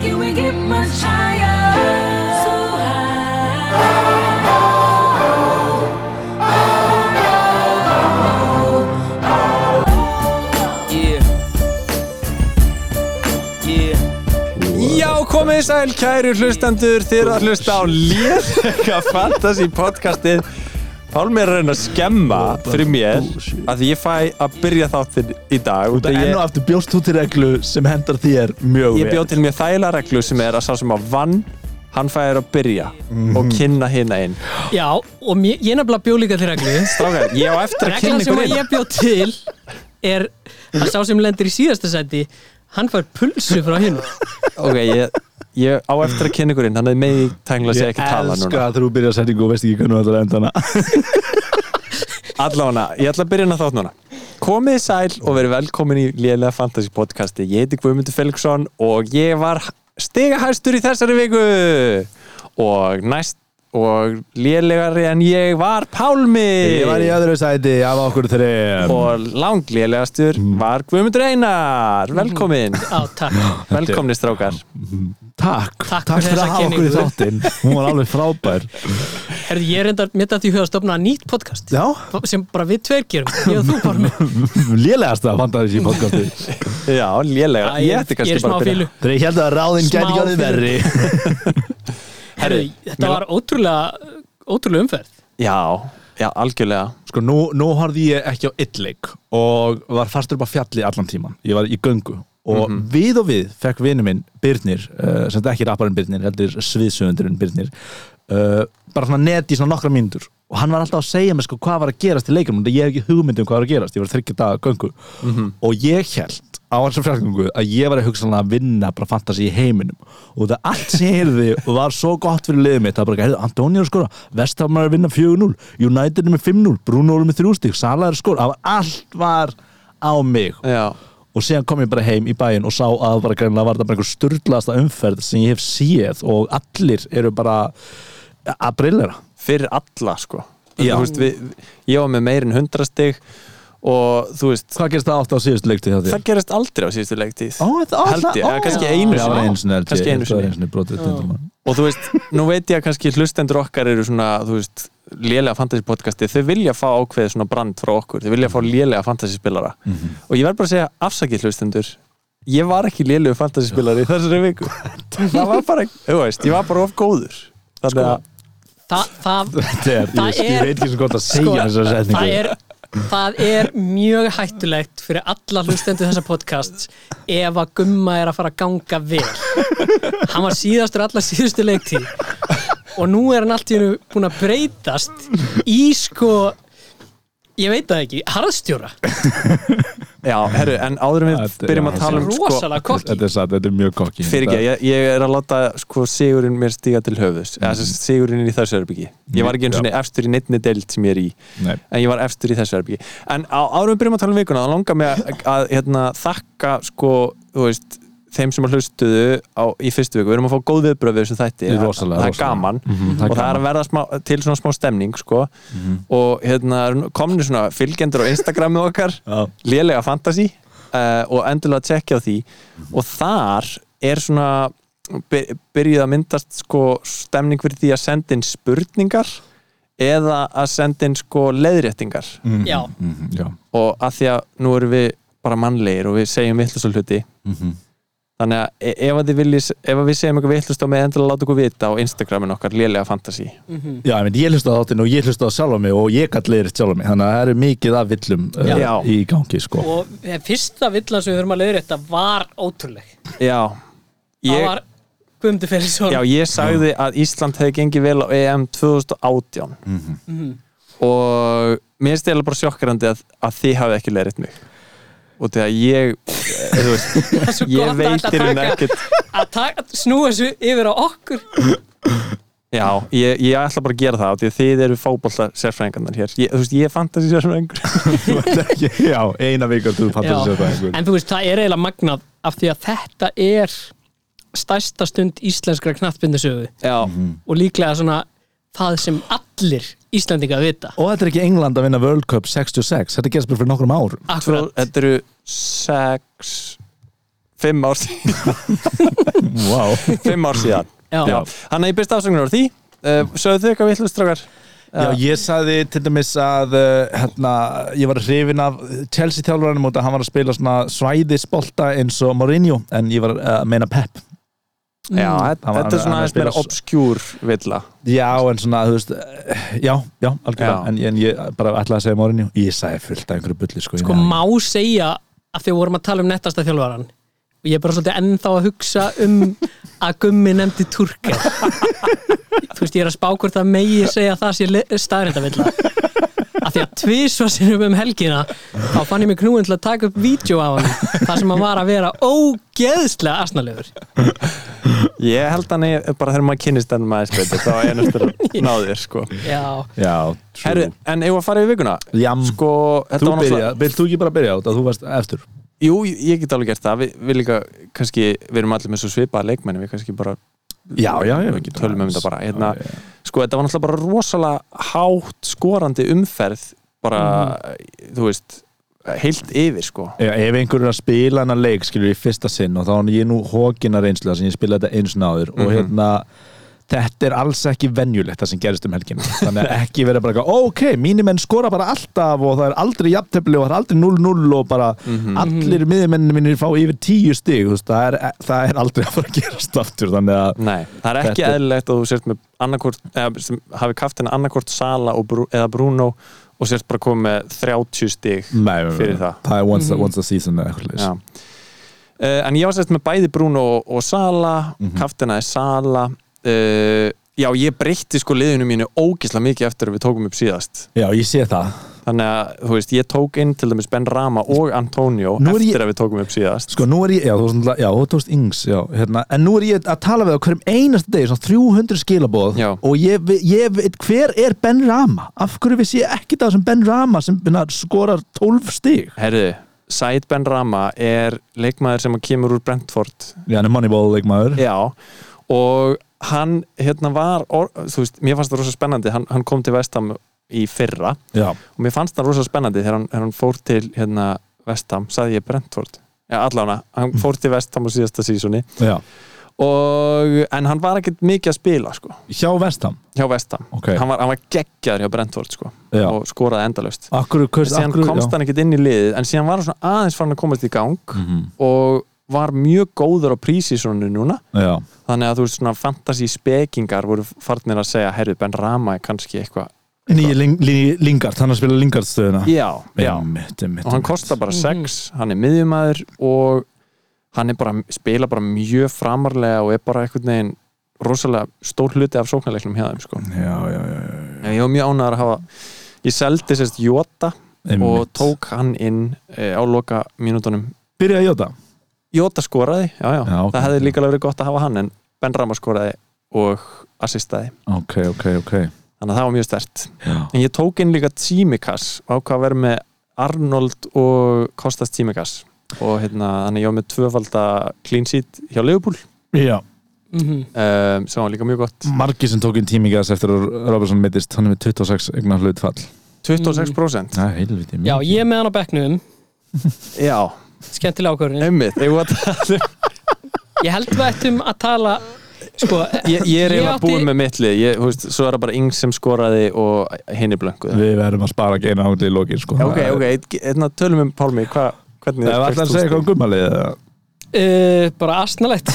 Can we get much higher? So high. Yeah. Yeah. Já, komið í sæl, kæru hlustendur, þið eru að hlusta á lélega fantasy podcastið Pálmi er að reyna að skemma fyrir mér að því ég fæ að byrja þáttinn í dag út Það af enn og ég, aftur bjóst þú til reglu sem hendar þér mjög ég bjóð til mér þægilega reglu sem er að sá sem að vann hann fæður að byrja Mhm. og kynna hina inn Já, og mér, ég nefnilega bjó líka til reglu Strákar, ég á eftir að Reglan kynna sem ykkur að inn ég bjó til er að sá sem lendir í síðasta seti hann fær pulsu frá hinn Ok, ég, ég á eftir að kynna ykkur inn, hann er með í tængla Ég sig ekki tala elska núna að þú byrjar setningu og veist ekki hvernig þú ætlar að enda hana Allána, ég ætla að byrja hérna þátt núna Komið þið sæl og verið velkomin í Lélega Fantasy podcasti Ég heiti Guðmundur Felixson og ég var stigahæstur í þessari viku og næst og lélegari en ég var Pálmi Ég var í öðru sæti af okkur þreim og langlélegastur var Guðmundur Einar Velkomin, á takk velkomni strákar Takk, Takk takk fyrir fyrir þessa að hafa okkur í kynningu. þáttinn Hún var alveg frábær Herðu, ég reyndar mér dætti í huga að stopna nýtt podcast Já, sem bara við tveir gerum ég og þú bara með lélegasta fantasy podcasti Já, lélega, ég ætti ég er kannski smá bara að fílu byrja Þegar ég held að ráðinn Smá gæti ekki orðið verri Herðu, Herðu, þetta var ótrúlega ótrúlega umferð Já, já, algjörlega Sko, nú, nú horfði ég ekki á yllik og var fastur upp á fjalli allan tíman ég var í göngu og við og við fekk vinur minn Byrnir, uh, sem þetta ekki rapparinn Byrnir heldur sviðsöfundurinn Byrnir uh, bara svona net í svona nokkra mínútur og hann var alltaf að segja mér sko hvað var að gerast í leikum og ég hef ekki hugmynd um hvað var að gerast ég var þryggja daga göngu og ég held á þessum fjarköngu að ég var að hugsa um að vinna bara fantasi í heiminum og það allt sem ég heyrði var svo gott fyrir liðið mitt það var bara, heyrðu, Antonio skora, Vesthamnar er að vinna 4-0 United er með 5-0, Bruno er með 3 stík Salah er að skora, það var allt var á mig Já, og síðan kom ég bara heim í bæinn og sá að bara greinlega var þetta bara einhver sturdlaðasta umferð sem ég hef séð og allir eru bara að brillera fyrir alla sko Já. Þú veist, við, ég var með meirin 100 stig og þú veist hvað gerst það átt á síðust leikti hjá þér? það gerist aldrei á síðustu leiktíð Ó, þetta- ó, held ég, það- ó, eða kannski já. einu Já, sinni. einu sinni, held ég. kannski einu Það var einu sinni sinni brotið stundum. og þú veist, nú veit ég að kannski hlustendur okkar eru svona, þú veist lélega fantasy podcasti, þau vilja fá ákveðið svona brand frá okkur, þau vilja fá Mhm. lélega fantasy spilara og ég verð bara að segja, afsakið hlustendur ég var ekki lélegu fantasy spilari í þessari viku það var bara, þú veist, ég var bara of góður þannig Sko. að, Þa, það, Þetta er, Það ég, ég er- veit ekki svo gott að Sko, segja þessa það setningu er, það er mjög hættulegt fyrir alla hlustendur þessa podcast ef að gumma er að fara að ganga vel hann var síðastur alla síðustu leiktíð og nú er hann allt í hennu búin að breytast í sko ég veit það ekki, harðstjóra já, herru, en áður en við Þetta- byrjum já, að tala um sko, rosalega kokki Þetta er satt, þetta er mjög kokki fyrir ekki, ég, ég er að láta sko sigurinn mér stíga til höfðus eða sem sagt, sigurinn í þessu erbyggi ég var ekki einu svona efstur í neittni deild sem ég er í Nei. en ég var efstur í þessu erbyggi en á árum við byrjum að tala um vikuna þá langar mig að, að hérna, þakka sko, þú veist þeim sem að hlustuðu á, í fyrstu viku við erum að fá góð viðbröð við þessum þætti Í Það- rosalega, það er rosalega. gaman Mhm, og það það er er að gaman. Mhm. verða smá, til svona smá stemning sko. og hérna komni svona fylgjendur á Instagramu okkar Já. lélega fantasy uh, og endurlega tjekkja á því og þar er svona by- byrjuð að myndast sko stemning fyrir því að senda inn spurningar eða að senda inn sko leiðréttingar já, Mhm, Já, og að því að nú erum við bara mannlegir og við segjum vittlust á hluti Mhm. þannig að e- ef, að þið viljið, ef að við segjum eitthvað vittlust á með endilega láta okkur vita á Instagramin okkar lélega fantasy já ég, mynd, ég hlusta á þáttinn og ég hlusta á sjálf á mig og ég gætt leiðir sjálf á mig þannig að það eru mikið af villum uh, Já. í gangi sko. og eh, fyrsta villan sem við þurfum að leiðrétta var ótrúleg já það ég, var Guðmundur Felixson já, ég sagði að Ísland hefði gengið vel á E EM 2018 Mhm. og mér finnst eða bara sjokkrandi að, að þið hafið ekki leiðrétt mig og því að ég eh, þú veist, Það er svo gott ég að veit þetta í raun taka- ekkert að taka- snúa þessu yfir á okkur Já, ég, ég ætla bara að gera það af því að þið eru fótbolta sérfræðingarnar hér ég, Þú veist, ég er fantasy sérfræðingur já, eina vikar þú fattur Já, sér það einhver En þú veist, það er eiginlega magnað af því að þetta er stærsta stund íslenskra knattbindasögu Já, og líklega svona það sem allir Íslendinga vita Og þetta er ekki England að vinna World Cup 66 Þetta gerst bara fyrir nokkrum árum svo Akkurat, þetta eru sex fimm ár, sí- wow. fimm ár síðan Já. Já. Þannig að ég byrst afsökunar á því uh, Sögðu þið eitthvað vittlust strákar? Eh, Já, ég saði til dæmis að uh, hérna, ég var hrifin af Chelsea þjálfurinn mútið að hann var að spila svona svæðisbolta eins og Mourinho en ég var uh, að meina Pep Já, Mm. þetta hann- þetta er hann svona aðeins spilar meira s- obskjúr villa Já, en svona, þú veist eh, Já, já, algjörlega Já. En, en ég bara ætlaði að segja Mourinho Ég sagði fullt af einhverju bulli sko, Sko má segja að þegar við vorum að tala um nettasta þjálfaran og ég er bara svolítið ennþá að hugsa um að gummi nefndi turkar Þú veist, ég er að spá hvort að megi segja að það sé staðrindavilla að því að tvisva sinnum um helgina þá fann ég mig knúin til að taka upp vídeo á hann þar sem hann var að vera ógeðslega asnalegur Ég held hann er bara þegar maður kynnist hann maður spyrir Það var einastur náðir sko Já, Já, true Herru, en eigum við að fara yfir vikuna? Jam, Sko, þetta þú var náttúrulega- byrja, vilt þú ekki bara byrja á þetta? Þú varst eftir Jú, ég get alveg gert það Við, við líka, kannski, við erum allir með svo svipaða leikmenni Við kannski bara Já, já, já, Við tölum um þetta bara hérna, Já, já. Sko, þetta var náttúrulega bara rosalega hátt skorandi umferð Bara, þú veist Heilt yfir, sko Já, ef einhverjur er að spila hennar leik skilur ég fyrsta sinn og þá er ég nú hókina reynslu þar sem ég spila þetta eins náður mm Mhm. og hérna þetta er alls ekki venjulegt það sem gerist um helgina þannig að ekki vera bara eitthvað, ok, mínir menn skora bara alltaf og það er aldrei jafntefli og það er aldrei 0-0 og bara Mhm. allir miðjumennir mínir fá yfir 10 stig þú veist, það, er, það er aldrei að fara að gerast aftur þannig að Nei, það er ekki Þetta- eðlilegt að þú sért með annarkort, eða sem hafi kaftina annarkort Sala og Brú, eða Bruno og sért bara komið með 30 stig nei, nei, Mm. Fyrir nei, það. Mhm. það er once, mm once a season eða Já. eitthvað leis. Uh, en ég var sérst með bæði Bruno og, og Sala, mm Mhm. kaftinaði Sala uh, Já, ég breytti sko liðinu mínu ógislega mikið eftir að við tókum upp síðast já, ég sé það Þannig að, þú veist, ég tók inn til dæmis Ben Rama og Antonio Nú er eftir ég- að við tókum upp síðast Sko nú er ég, já þú, varst náttúrulega- já, þú tókst yngs já, hérna, En nú er ég að tala við á hverjum einasta degi Svona 300 skilaboð Já. Og ég, ve- ég veit, hver er Ben Rama? Af hverju vissi ég ekki það sem Ben Rama Sem hérna, skorar 12 stig Herðu, Said Ben Rama er leikmaður sem kemur úr Brentford Já, hann er Moneyball leikmaður Já, og hann hérna var, or, þú veist, mér fannst það rosa spennandi, hann, hann kom til Vestam í fyrra Já, og mér fannst það rosa spennandi þegar hann, þegar hann fór til hérna Vestam, saði ég Brentford Já, allána, Mhm. hann fór til Vestam á síðasta sísoni já og, en hann var ekkert mikið að spila sko, Hjá Vestham hjá Vestam Ok. hann, var, hann var geggjaður hjá Brentford sko Já. og skoraði endalaust Af hverju, en hvers, af síðan hverju komst já. hann ekkert inn í liðið en síðan var hann svona aðeins farin að komast í gang Mhm. og var mjög góður á prísísonu núna Já, þannig að þú veist svona fantasy spekingar voru farnir að segja herru Ben Rama er kannski eitthvað nýji ling, ling, Lingard, hann er að spila Lingard stöðuna já, já, Einmitt, einmitt, og hann einmitt. kostar bara 6 hann er miðjumæður og hann er bara, spila bara mjög framarlega og er bara einhvern veginn rosalega stór hluti af sóknarleiknum hjá þeim sko. Já, já, já, já En ég var mjög ánæður að hafa ég seldi sérst Jota og einmitt. tók hann inn e, á loka mínútonum Byrjaði Jóta Jota skoraði, já, já, Já, ok. það hefði líka alveg verið gott að hafa hann en Ben Rama skoraði og assistaði, Ok, ok, ok þannig að það var mjög stert Já, En ég tók inn líka Tímikas og ákvað að vera með Arnold og Kostas Tímikas og hérna, þannig ég var með tvöfalda clean sheet hjá Leopold já. mm um, sem var líka mjög gott margir sem tók inn tímingas eftir að Robertson mittist, hann er með 26 eignar hlutfall 26% Það er heilviti Já, ég er með hann á Mm. bekknum Já, skemmtilega ákvörðin einmitt eigum við að tala um- Ég held við ættum að tala sko, Ég, ég er Ég eiginlega átti- búin með mittlið ég, þú veist, Svo er það bara Ings sem skoraði og hinni blönguð Við verðum að spara geina ánglið í lokin sko. Ok, ok, einna tölum um Pálmi hva, Hvernig Það var alltaf að segja eitthvað um gummalið eða? uh, bara asnalegt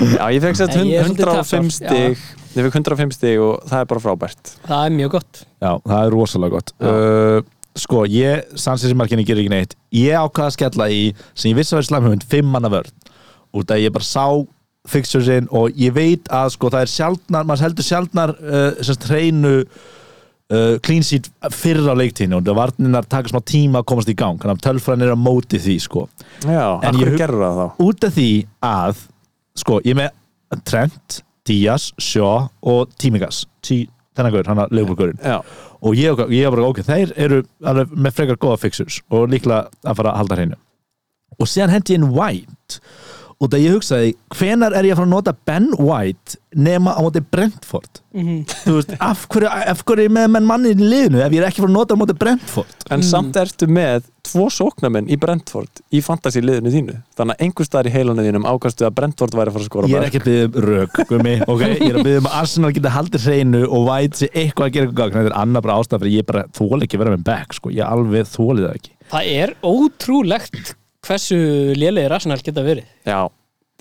Já, ég fekk sett Nei, ég er 105 svolítið tapsár, já. stig Ég fekk 105 stig og það er bara frábært Það er mjög gott Já, það er rosalega gott Já. uh, Sko, ég, sannsins í markinni gerir ekki neitt Ég ákvað að skella í, sem ég vissi að vera slæmhjöfund, fimm manna vörn Út að ég bara sá fixtursinn og ég veit að sko, það er sjaldnar, maður heldur sjaldnar uh, sérst hreinu uh, clean sheet fyrir á leiktíðinu og það varninar taka smá tíma að komast í gang þannig að tölfræðin er á móti því sko. Já, En en ég hverju hug- gerur það þá? út af því að sko, ég er með Trent, Díaz, Sjó og Tímigas Tí, þennan gaur, hann að leifbúrgurinn Já, og ég, ég var bara ok, þeir eru alveg með frekar góða fixers og líklega að fara að halda hreinu og síðan hendi ég inn White og það ég hugsaði, hvenar er ég að fara að nota Ben White nema á móti Brentford þú veist, af hverju, af hverju er ég með menn manni í liðinu ef ég er ekki að fara að nota á móti Brentford En samt ertu með tvo sóknamenn í Brentford í fantasy liðinu þínu þannig að einhver staðar í heilunni þínum ákastu að Brentford væri að fara að skora ég er ekki að byggja um rök, gummi okay? ég er að byggja um að Arsenal geta haldið hreinu og White sé eitthvað að gera eitthvað gagn. þetta er annar bara ástæð fyrir ég bara þóli ekki að vera með back sko. ég alveg þóli það ekki Það er ótrúlegt hversu lélegir Arsenal geta verið Já,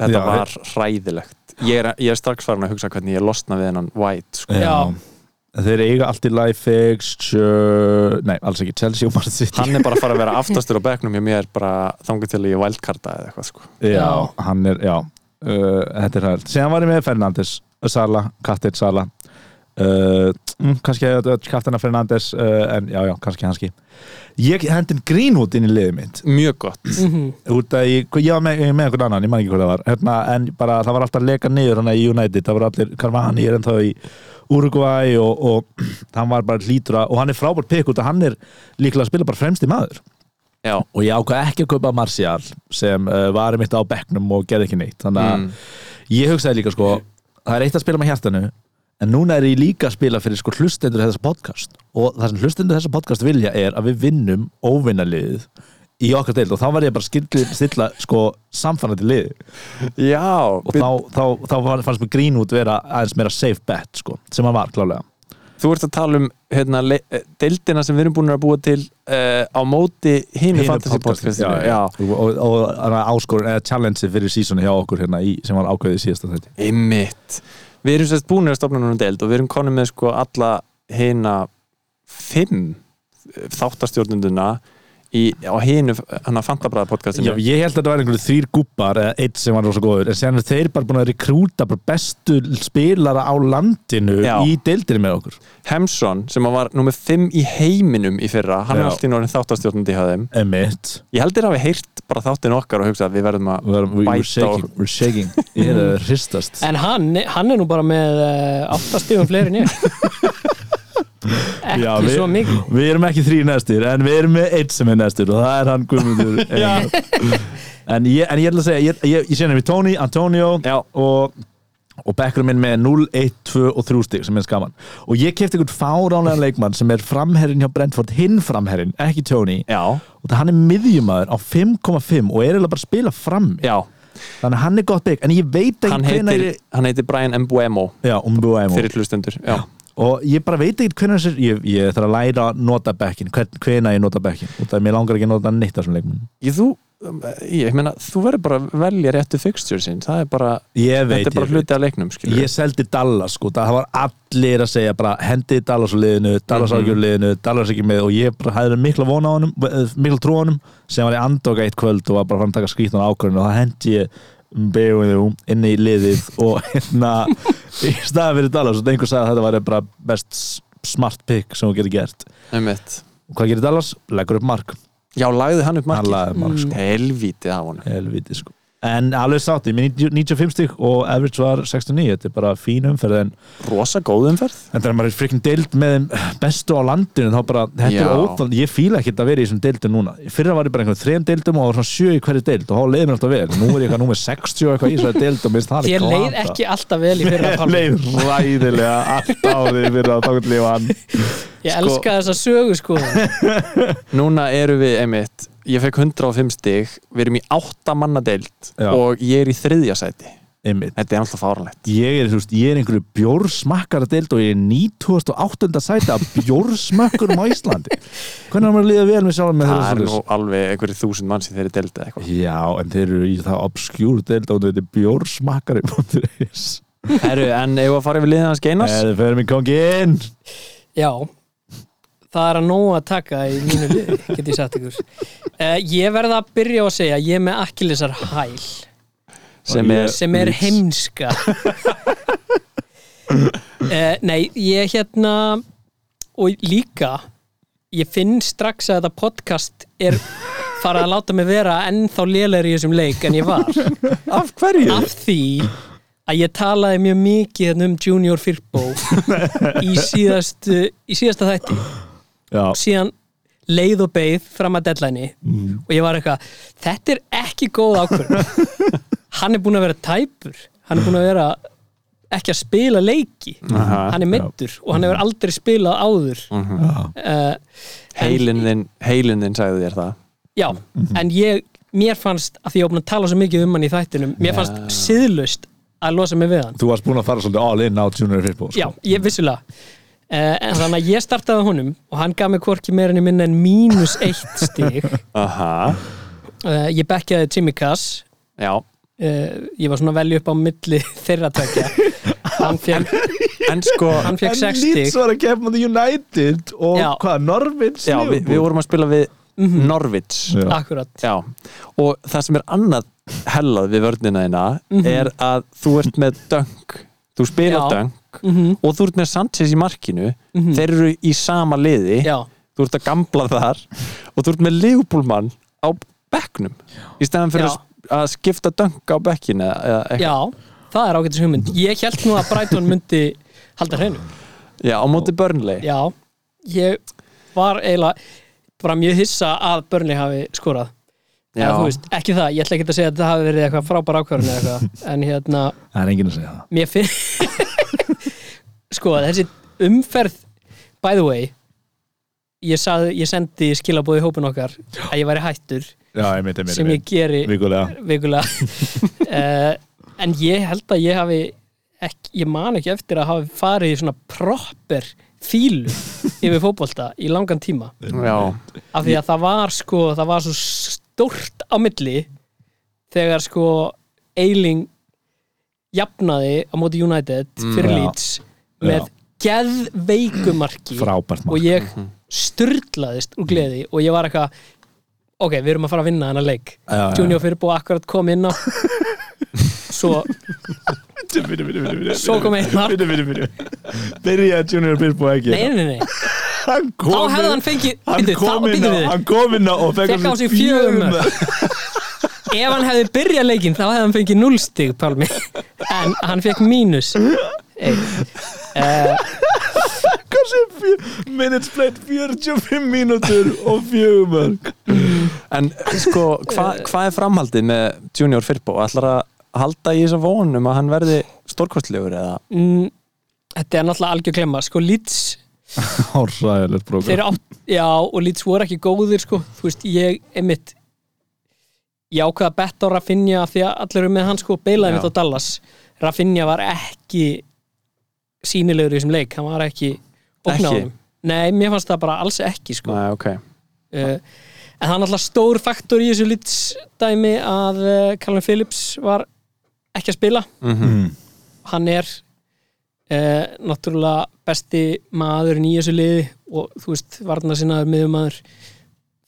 þetta Já. var hræðilegt ég er, ég er strax farin að hugsa hvernig ég losna við hennan White sko. Já. þeir eiga allt í life fixture nei, alls ekki, Chelsea og Man City Hann er bara að fara að vera aftastur á bekknum hjá mér bara þangur til að ég wildcarda eða eitthvað sko. Já, hann er, já uh, Þetta er hægt, síðan var ég með Fernandes uh, Sala, Katir Sala uh, mm, kannski hefði þetta Katina Fernandes uh, en já, já, kannski hanski Ég hendin Greenwood inn í liðið mitt Mjög gott út að ég, ég var með, ég var með einhvern annan, ég man ekki hvað það var hérna, en bara það var alltaf að leka niður hann í United, það var allir Carvani er ennþá í Uruguay og, og hann var bara hlýtur að, og hann er frábært pikk út að hann er líklega að spila bara fremst í maður Já, og ég ákvað ekki að kaupa Martial sem uh, var mitt á bekknum og gerði ekki neitt þannig að Mm. ég hugsaði líka sko það er eitt að spila með hjartanu en núna er ég líka að spila fyrir sko hlustendur þessa podcast og það sem hlustendur þessa podcast vilja er að við vinnum óvinnaliðið í okkar deild og þá var ég bara skildið stilla sko samfannandi lið já og þá, þá, þá var- fannst mér grín út vera aðeins meira safe bet sko sem hann var klálega þú ert að tala um hérna, le- eh, deildina sem við erum búin að búa til uh, á móti hinu fantasy podcastinu já, já. og, og, og, og áskorun eða challenge fyrir sísoni hjá okkur hérna í, sem var ákveðið í síðasta þetta Einmitt. Við erum sérst búin að stopna núna um deild og við erum konum með sko alla hina fimm þáttastjórnunduna í, á hinu hana fantabræða Já, podcastinu ég held að þetta var einhverju þrýr gúpar eða eitt sem var rosa góður, en séðan eru þeir bara búin að rekrúta bara bestu spilara á landinu Já. í deildinu með okkur Hemsson sem var nummer fimm í heiminum í fyrra, hann Já. er allt í norðin þáttastjórnundi hjá þeim. Emmett, Ég heldur að við heyrt bara þáttin okkar og hugsa að við verðum að we, we we're bæta shaking, og we're shaking ég er að hristast En hann, hann er nú bara með uh, 8 stífum fleiri en ég Ekki Já, við- svo mikið Við erum ekki þrý næstir, en við erum með eitt sem er næstir og það er hann Guðmundur Einar. en, ég, en ég ætla að segja ég, ég, ég sé nefnir Tony, Antonio Já. og, og bekkurum minn með 0, 1, 2 og 3 stig sem er skaman og ég kefti einhvern fáránlegan leikmann sem er framherrin hjá Brentford, hinn framherrin, ekki Tony Já, og það hann er miðjumæður á 5,5 og er eiginlega bara að spila frammi já, þannig að hann er gott bygg, en ég veit ekki hann hvenær heitir, ég- hann heitir Brian Mbuemo Já, um Buemo fyrir hlustendur já. og ég bara veit ekki hvernig sér ég, ég þarf að læra að nota bekkin hvena ég nota bekkin og það er mér langar ekki að nota neitt af þessum leikmenn Ég, þú, ég meina, þú verður bara að velja réttu fixture sinn, það er bara ég veit, þetta er bara ég, hluti af leiknum veit. skilur ég seldi Dallas sko, það var allir að segja bara hendið Dallas á liðinu, Dallas á ekki á liðinu Dallas ekki með og ég bara hafði mikla vona á honum eh, mikla trú á honum sem var í andoka eitt kvöld og var bara fann að taka skrýtna ákvörðinu og það hendi ég Mbeuðu inn í liðið og hérna í staðan fyrir Dallas og einhver sagði að þetta var bara best smart pick sem hún getur gert Einmitt. og hvað gerir Dallas? leggur upp mark já, lagði hann upp hann markið Mm. lagði mark sko. helvítið af honum helviti sko en alveg sátt, ég með 95 stygg og average var 69, þetta er bara fín umferð en, rosa góð umferð en þegar maður er frikkin deild með þeim bestu á landinu þá bara, þetta Já. er óþánd, ég fíla ekkert að vera í þessum deildum núna, fyrra var ég bara einhvern þrejum deildum og það var svona sjö í hverju deild og þá leiði mér alltaf vel, nú er ég eitthvað númer 60 og eitthvað í þessari deild og minnst það Þér leið ekki alltaf vel í fyrra palmi leið ræðilega allt á því fyrir að þá lifa hann Ég elska þessa sögu sko núna eru við, einmitt, ég fekk 105 stig við erum í 8 manna deild Já. og ég er í þriðja sæti Einmitt. þetta er alltaf fáranlegt ég er, þú veist, ég er einhverju bjórsmakkara deild og ég er 98. sæti af bjórsmökkurum á Íslandi hvernig er maður að líða vel með sjálfum með það er þeirra nú svoleiðis? alveg einhverju þúsund mann sem þeir eru deildið eitthvað já, en þeir eru í það obskjúr deild og þetta er bjórsmakkari.is Heru, en ef að fara yfir liðið hans geinas eða fyrir mig kongin Já Það er að nóg að taka í mínu liði get ég sagt ykkur uh, Ég verða að byrja á að segja Ég er með akkilesar hæl sem er, sem er heimska uh, Nei, ég hérna og líka ég finn strax að þetta podcast er farið að láta mig vera ennþá lélegri í þessum leik en ég var af hverju? af því að ég talaði mjög mikið hérna um Junior Firpo í, síðast, í síðasta þætti já, síðan leið og Mm. beið fram að deadline og ég var eitthvað, þetta er ekki góð ákvörð hann er búin að vera tæpur hann er búin að vera ekki að spila leiki Aha. hann er meittur og hann hefur aldrei spilað áður uh, Heilin þinn, heilin þinn sagði þér það já, Mhm. en ég mér fannst, af því ég var búin að tala svo mikið um hann í þættinum mér fannst Já. siðlust að losa mig við hann Þú varst búin að fara svolítið all in á Junior Firpo sko. já, ég vissulega uh, en þannig að ég startaði á honum og hann gaf mig hvorki meira en ég minna en mínus eitt stig Aha, uh, ég bekkjaði Jimmy Cass já uh, ég var svona að velja upp á milli þeirra tvekja hann fekk, En sko, hann fekk En 6 Leeds stig var að kepa mútið United og Já. hvað, Norvins já, við, við vorum að spila við Mhm. Norvits Já. akkurat, Já, og það sem er annað hellað við vörnina þína er að þú ert með döng þú spilar Mhm. Já. Mhm. döng og þú ert með Sanchez í markinu þeir eru í sama liði já, þú ert að gambla þar og þú ert með legupúlmann á bekknum í stæðan fyrir Já. að, að skipta döng á bekkinu eða- eða eitthvað. já það er ágætis hugmynd, ég held nú að Brighton myndi halda hreinu, já, á móti Burnley já ég var eiginlega bara mjög hissa að Burnley hafi skorað eða þú veist, ekki það, ég ætla ekki að segja að það hafi verið eitthvað frábær ákvörðun eða eitthvað, en hérna Það er enginn að segja mér finn sko þessi umferð by the way ég, sað, ég sendi skilabóð í hópin okkar að ég væri hættur það Já, ég myndi, sem ég geri Vikulega vikulega uh, en ég held að ég hafi ekki, ég man ekki eftir að hafi farið í svona proper fílu yfir fótbolta í langan tíma já, af því að það var sko það var svo stórt á milli þegar sko Eiling jafnaði á móti United fyrir Mm, Já. Leeds með Já. geðveikumarki Frábært Mhm. og mark ég sturdlaðist úr gleði og ég var eitthvað ok, við erum að fara að vinna hennar leik Já, já. Junior fyrir búið akkurat kom inn á svo, svo kom eitt mark Byrjaði Junior Firpo ekki nei, nei, nei, Hann þá kom hefði hann inn- fengið Hann Bíddu, þá- kom inn bíddu á- við. hann kom inn á og fekk Fekk á á sig sig fjögur fjögur mörk. mörk. ef hann hefði byrjað leikinn þá hefði hann fengið núlstig Pálmi en hann fekk mínus uh, Hversu fjö- Minutes played 45 mínútur og fjögumörk en sko hvað hva er framhaldið með Junior Firpo ætlar að halda í þess að vonum að hann verði stórkostlegur eða Mm, þetta er náttúrulega algjör klemma sko Leeds Hársaðilegt þeir program átt, já og Leeds voru ekki góðir sko, þú veist ég einmitt ég ákveða bett á Rafinha af því að allir eru með hann sko beilaði mitt á Dallas Rafinha var ekki sínilegur í þessum leik, hann var ekki Ekki? óknáðum, nei mér fannst það bara alls ekki sko Nei, ok uh, en það er alltaf stór faktor í þessu litsdæmi að uh, Callum Phillips var ekki að spila mm Hmm. hann er uh, náttúrulega besti maðurinn í þessu liði og þú veist, varna sinnaður miðumadur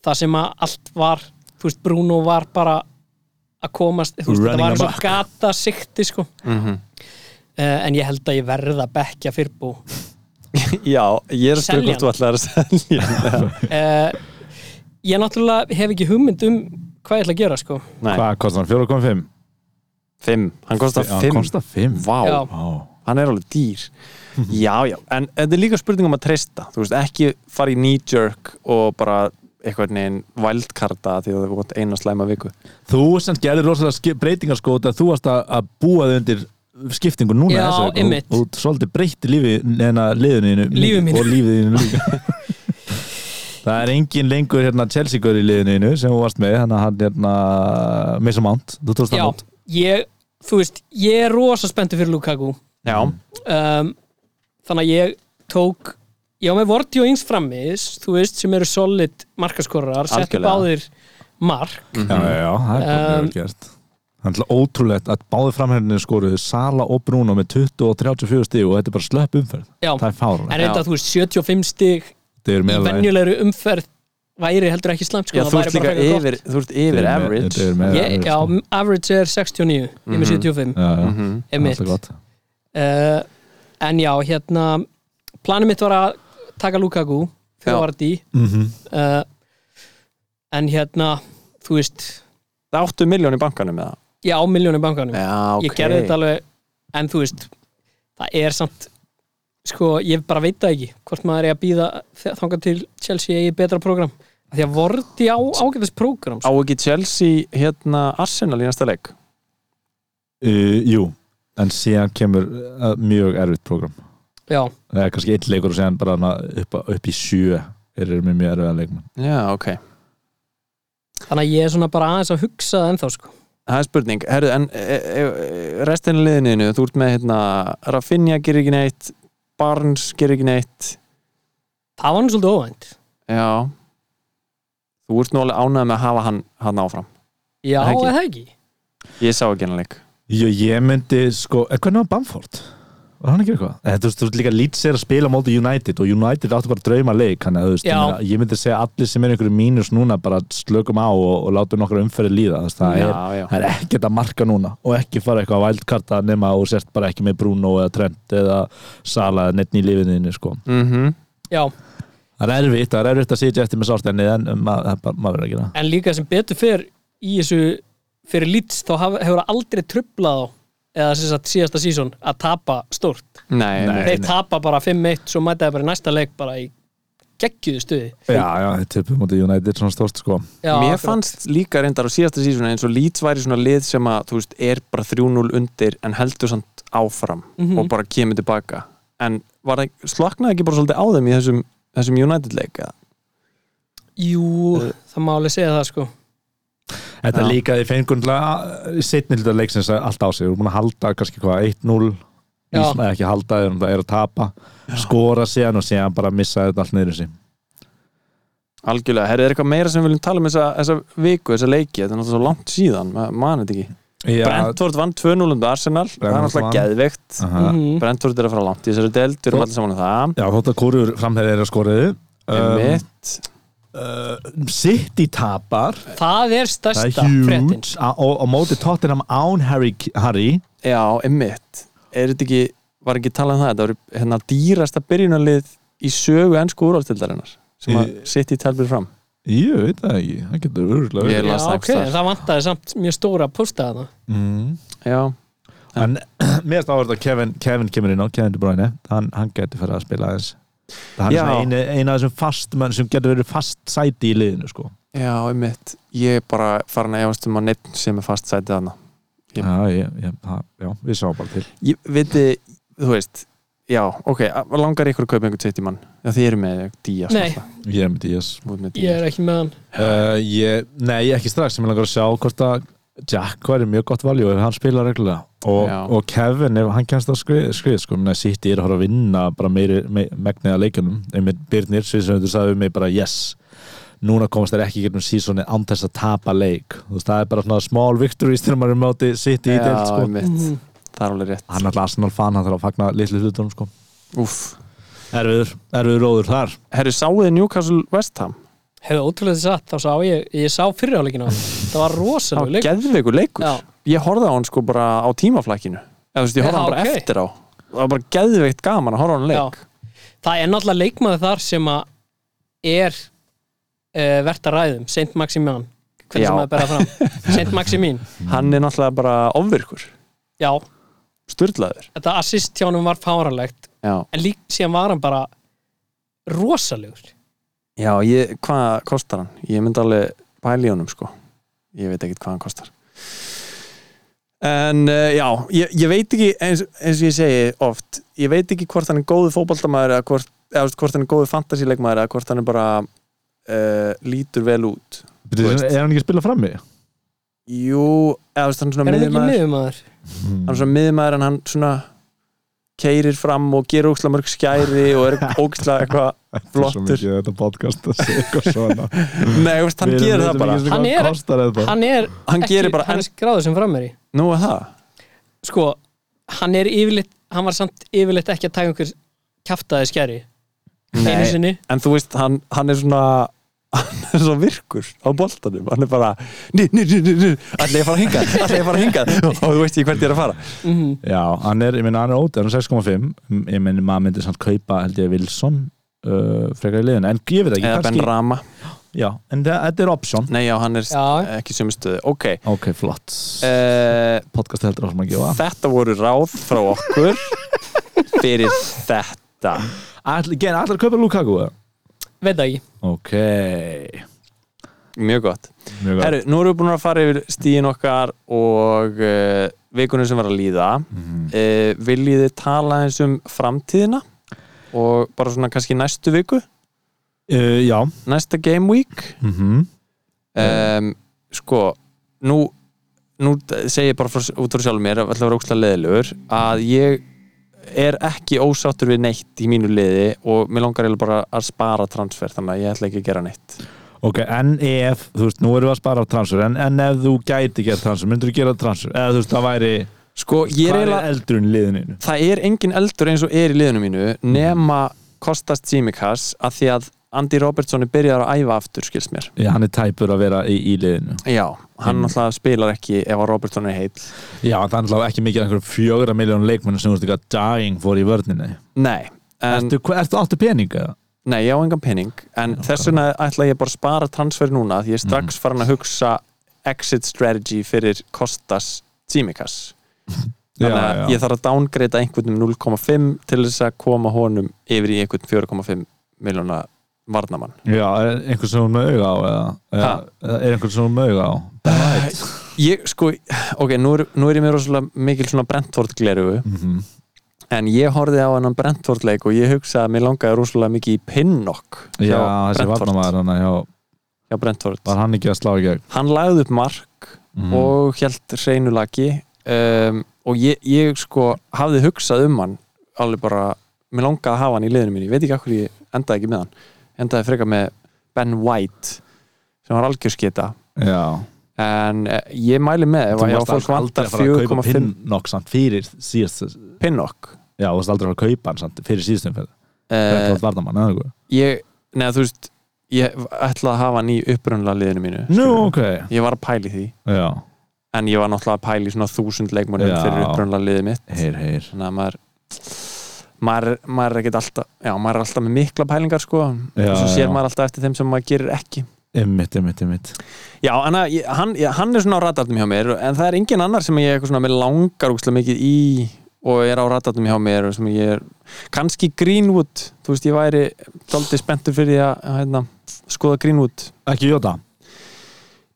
það sem að allt var þú veist, Bruno var bara að komast, þú veist, Running þetta var eins og amok. gata sikti sko, Mhm. uh, en ég held að ég verða bekkja fyrir bú Já, ég er að spyrja Selja hvort þú ætlar að selja hann. uh, ég náttúrulega hef ekki hugmynd um hvað ég ætla að gera sko Nei, Hvað kostar hann? 4,5? fimm, hann kostar Já, fimm kostar Mhm. 5 Vá, Já. hann er alveg dýr Já, já, en þetta er líka spurning um að treysta Þú veist, ekki fara í knee-jerk og bara eitthvað neginn vældkarta því að það gott eina slæma viku Þú sem gerðir rosalega skip- breytingar sko út að þú varst að- að búa þau undir skiptingu núna Já, þessu, einmitt. og, og svolítið breytti lífi neina liðinu þínu Lífi mínu. og lífið þínu líka Það er engin lengur hérna Chelsea-gaur í liðinu þínu sem þú varst með hann að hann hérna Mason Mount, þú tókst hann Já, út ég, þú veist, ég er rosa spenntur fyrir Lukaku Já, um, Þannig að ég tók Já, með Vorti og Ings frammis Þú veist, sem eru solid markaskorar Settu Algjörlega. báðir mark Já, já, já, það er bara Um, mjög gert Það er alltaf ótrúlegt að báði framherrinu skoruðu Sala og Bruno með 20 og 34 stíg og þetta er bara slöpp umferð Já, Það er en fárlega, reynda, þú veist, 75 stig þetta er Í meðalagi. venjulegri umferð væri heldur ekki slæmt sko, já það þú væri ert líka bara frekar gott. yfir, þú ert yfir Þetta er með- average þetta er með Ég, average, já, sko. average er 69 Ég er með 75 Já, já, Mhm. það er einmitt. alltaf gott uh, En já, hérna Planið mitt var að taka Lukaku Já. Fyrir Vorti Mhm. uh, en hérna þú veist, Það áttu miljón í bankanum með það ég á miljónu í bankanum Já, ok ég gerði þetta alveg en þú veist, það er samt sko, ég bara veit það ekki hvort maður er að býða þangað til Chelsea eigi betra program Af því að vorti á ágætis program Á sko. ekki Chelsea hérna Arsenal í næsta leik uh, jú, en síðan kemur uh, mjög erfitt program já, eða kannski einn leikur og síðan bara hana upp, upp í sjö er þeir með mjög erfiða leikmenn Já, ok. þannig að ég er svona bara aðeins að hugsa það ennþá sko Það er spurning. Herru, en e, e, restinu liðinu, þú ert með hérna, Rafinha gerir ekki neitt, Barnes gerir ekki neitt. það var nú svolítið óvænt Já. Þú ert nú alveg ánægð með að hafa hann, hann áfram. já, Það ekki. er það ekki? Ég sá ekki hann leik. Jó, ég myndi sko, eh, hvernig var Bamford? Var hann ekki eitthvað? Eh, Þú veist, þú veist líka Leeds er að spila á móti United og United áttu bara að drauma leik hann, veist, Já. ég meina, ég myndi segja allir sem er einhverju mínus núna bara slökum á og, og látum nokkra umferði líða þess, það, Já, er, já. það er ekkert að marka núna og ekki fara eitthvað að vældkarta nema og sért bara ekki með Bruno eða Trent eða Sala eða neittn í lifinni sko. Mm já, það er erfitt, það er erfitt að sitja eftir með sárstæni en um, ma það er bara- maður verður að gera það. en líka sem betur fyrr í þessu fyrir lýts þá haf- hefur það aldrei trublað á eða sem sagt síðasta sísón að tapa stórt Nei, Nei. nei. þeir tapa bara 5-1 svo mæta þeir bara í næsta leik bara í geggjuðu stuði Já, já, þetta er upp móti United svona stórt sko já, Mér akkurat. fannst líka reyndar á síðasta sísuna eins og Leeds væri svona lið sem að þú veist, er bara 3-0 undir en heldur samt áfram Mhm. og bara kemur tilbaka en var það, sloknaði ekki bara svolítið á þeim í þessum, þessum United leik eða? jú, Eh. það má alveg segja það sko Þetta Já. er líka í fengunlega setni hluta leiksins allt á sig, við erum búin að halda kannski hvað 1-0, Já. Ísland ekki halda þegar það er að tapa, skora síðan og síðan bara missa þetta allt niður í sig Algjörlega, herri, er eitthvað meira sem við viljum tala um þessa, þessa viku, þessa leiki, þetta er náttúrulega svo langt síðan maður man þetta ekki. Já, Brentford vann 2-0 undir Arsenal, það er Brentford náttúrulega vann. Mm. geðveikt Aha. Mhm. Brentford er að fara langt í þessari deild, við erum allir saman um það Já, þótt að kóruður framherðið er að skoriðu um, eh, Mitt, City tapar það er það stærsta er fréttin huge á- og á móti Tottenham án Harry, Harry. Já, emmitt Er þetta ekki, var ekki talað um það Þetta voru hérna dýrasta byrjunarlið í sögu ennsku úrvalstildarinnar sem að Í- sitt í telbir fram Ég veit það ekki, það getur örgulega Ég Já, las það ok, okay, það vantaði samt mjög stóra posta þarna mm. Já, En mér erst áverð að Kevin, Kevin kemur inn á Kevin De Bruyne, hann, hann getur fyrir að spila aðeins hann er Já. svona einu, einu af þessum fast menn sem getur verið fast sæti í liðinu sko. já emmitt Ég er bara farin að efast um að neitt sem er fast sætið hana Ég- já, ég, ég, það, já, við sjáum bara til Ég viti, þú veist Já, ok, a- langar ykkur að kaupa einhvern sitt í mann Já, þið eru með Días Nei. náttúrulega. ég er með Díaz Þú ert með ég Días. er ekki með hann uh, ég, Nei, ekki strax, ég mér langar að sjá hvort að Jack væri mjög gott valjú ef hann spila reglulega og, Já. og Kevin, ef hann kemst að skrið, skrið sko, minna, City er að horfa að vinna bara meiri me, megnið að leikunum einmitt Birnir, Sviðsöndur sagði við mig bara yes núna komast þær ekki gegnum sísoni án þess að tapa leik þú veist, það er bara svona small victories þegar maður er móti City í Já, deild sko. Mhm. einmitt, það er alveg rétt hann er alltaf Arsenal fan, hann þarf að fagna litlu hlutunum sko. Úff, erfiður, erfiður róður þar herru, sáuðið Newcastle West Ham hefði ótrúlega satt, þá sá ég, ég sá fyrirháleikina það var Það var rosalega geðveikur leikur Já. Ég horfði á hann sko bara á tímaflækinu Eða þú veist, ég horfði á Já, hann bara ok. eftir á Það var bara geðveikt gaman að horfa á hann leik það er náttúrulega leikmaður þar sem að er uh, vert að ræðum, Saint Maximin Já. hvernig sem maður berða fram, Saint Maximin Hann er náttúrulega bara ofvirkur já, Sturlaður þetta assist hjá hann var fáralegt Já, en líkt síðan var hann bara rosalegur Já ég, hvað kostar hann? Ég myndi alveg pæla í honum sko Ég veit ekkit hvað hann kostar En uh, já, ég, ég veit ekki eins, eins og ég segi oft Ég veit ekki hvort hann er góðu fótboltamaður eða hvort, eða, þú veist, hvort hann er góðu fantasíleikmaður eða hvort hann er bara uh, lítur vel út Þú veist. er hann ekki að spila frammi? Jú, eða þú veist, hann er svona er hann ekki miðjumaður. miðumadur? hann er svona miðmaður en hann svona keirir fram og gerir óksla mörg skæri og er óksla eitthvað flottur mikið þetta podcast að segja eitthvað svona Nei, þú veist, hann Við gerir vitum það bara ekki einu sinni Hann hvað er- kostar þetta. hann er Hann ekki, gerir bara- hann er skráður sem frammeiri Nú er það sko, hann er yfirleitt hann var samt yfirleitt ekki að taka einhver kjaftaði skæri einu Nei, sinni En þú veist, hann, hann er svona hann er svo virkur á boltanum hann er bara ný, ný, ný, ný, ný. allir ég að fara hingað, allir ég að fara hingað og þú veist ekki hvert ég er að fara Mhm. Já, hann er, ég meina hann er ótið, hann er 6,5 M- ég meina maður myndi samt kaupa held ég Wilson uh, frekar í liðinu, en ég veit ekki, eða Ben Rama, já, en það- þetta er option nei já, hann er Já. ekki sömu stöðu, ok ok, flott, uh, Eh. podcast heldur áfram að gefa þetta voru ráð frá okkur fyrir þetta Ætli- Gen, ætlar að kaupa Lukaku eða? veit það ekki ok, mjög gott mjög gott Herru, nú erum við búin að fara yfir stíin okkar og uh, vikunum sem var að líða Mhm. eh, viljið þið tala eins um framtíðina og bara svona kannski næstu viku uh, já næsta game week mm -hmm. um, sko nú, nú d- segi ég bara frá, út frá sjálfum mér að alltaf rókslega leðilegur að ég er ekki ósáttur við neitt í mínu liði og mér langar eiginlega bara að spara transfer þannig að ég ætla ekki að gera neitt ok, en ef, þú veist, nú erum við að spara á transfer en, en ef þú gæti gera transfer, myndur þú gera transfer eða þú veist, það væri sko ég er hvað eiginlega eldurinn liðinu það er engin eldur eins og er í liðinu mínu nema kostast Simikas að því að Andy Robertson er byrjar að æfa aftur skils mér Já, hann er tæpur að vera í, í liðinu já, hann Mm. náttúrulega spilar ekki ef að Robertson er heill Já, það er alltaf ekki mikið af einhverjum fjögurra miljón leikmenn sem þú veist ekki að dying fór í vörninni nei, en Ertu, hva- ertu áttu peninga? Nei, ég á engan pening en þess vegna ætla ég bara að spara transfer núna því ég er Mhm. strax farin að hugsa exit strategy fyrir Kostas Tsimikas þannig að ég þarf að downgreita einhvern um 0,5 til þess að koma honum yfir í einhvern 4,5 miljóna varnamann Já, er einhvern sem hún mög á eða, eða, Ha? er einhvern sem hún mög á Ben White Ég sko, ok, nú er, nú er ég mér rosalega mikil svona Brentford glerugu Mhm. en ég horfið á hennan Brentford leik og ég hugsaði að mér langaði rosalega mikið í Pinnock Já, hjá þessi Brentford, varnamaður hann já, hjá Brentford. var hann ekki að slá í gegn hann lagði upp mark Mhm. og held reynulagi um, og ég, ég sko hafði hugsað um hann alveg bara, mér langaði að hafa hann í liðinu mínu ég veit ekki af hverju ég endaði ekki með hann Ég endaði frekar með Ben White sem var algjörskita Mhm. Já, en eh, ég mæli með ef Þú að ef varst fólk aldrei vantar að fara að kaupa 4,5 Pinnokk samt fyrir síðast pinnokk Já, þú varst aldrei að fara að kaupa hann samt fyrir síðastum fyrir uh, Brentford varnamann, eða eitthvað ég, neða þú veist ég ætlaði að hafa hann í upprunnulega liðinu mínu Nú, skilurðu. ok ég var að pæli því Já, en ég var náttúrulega að pæli svona þúsund leikmönnum Já. fyrir upprunnulega liðið mitt heyr, heyr þannig að maður maður, maður er ekkert alltaf já, maður er alltaf með mikla pælingar sko Já, og svo sér já. maður alltaf eftir þeim sem maður gerir ekki Ymmit, ymmit, ymmit já, en að, ég- hann, ég- hann er svona á radartum hjá mér en það er engin annar sem ég eitthvað svona með langar úkslega mikið í og er á radartum hjá mér og sem ég er kannski Greenwood, þú veist ég væri daldið spenntur fyrir því að hérna, skoða Greenwood Ekki Jóta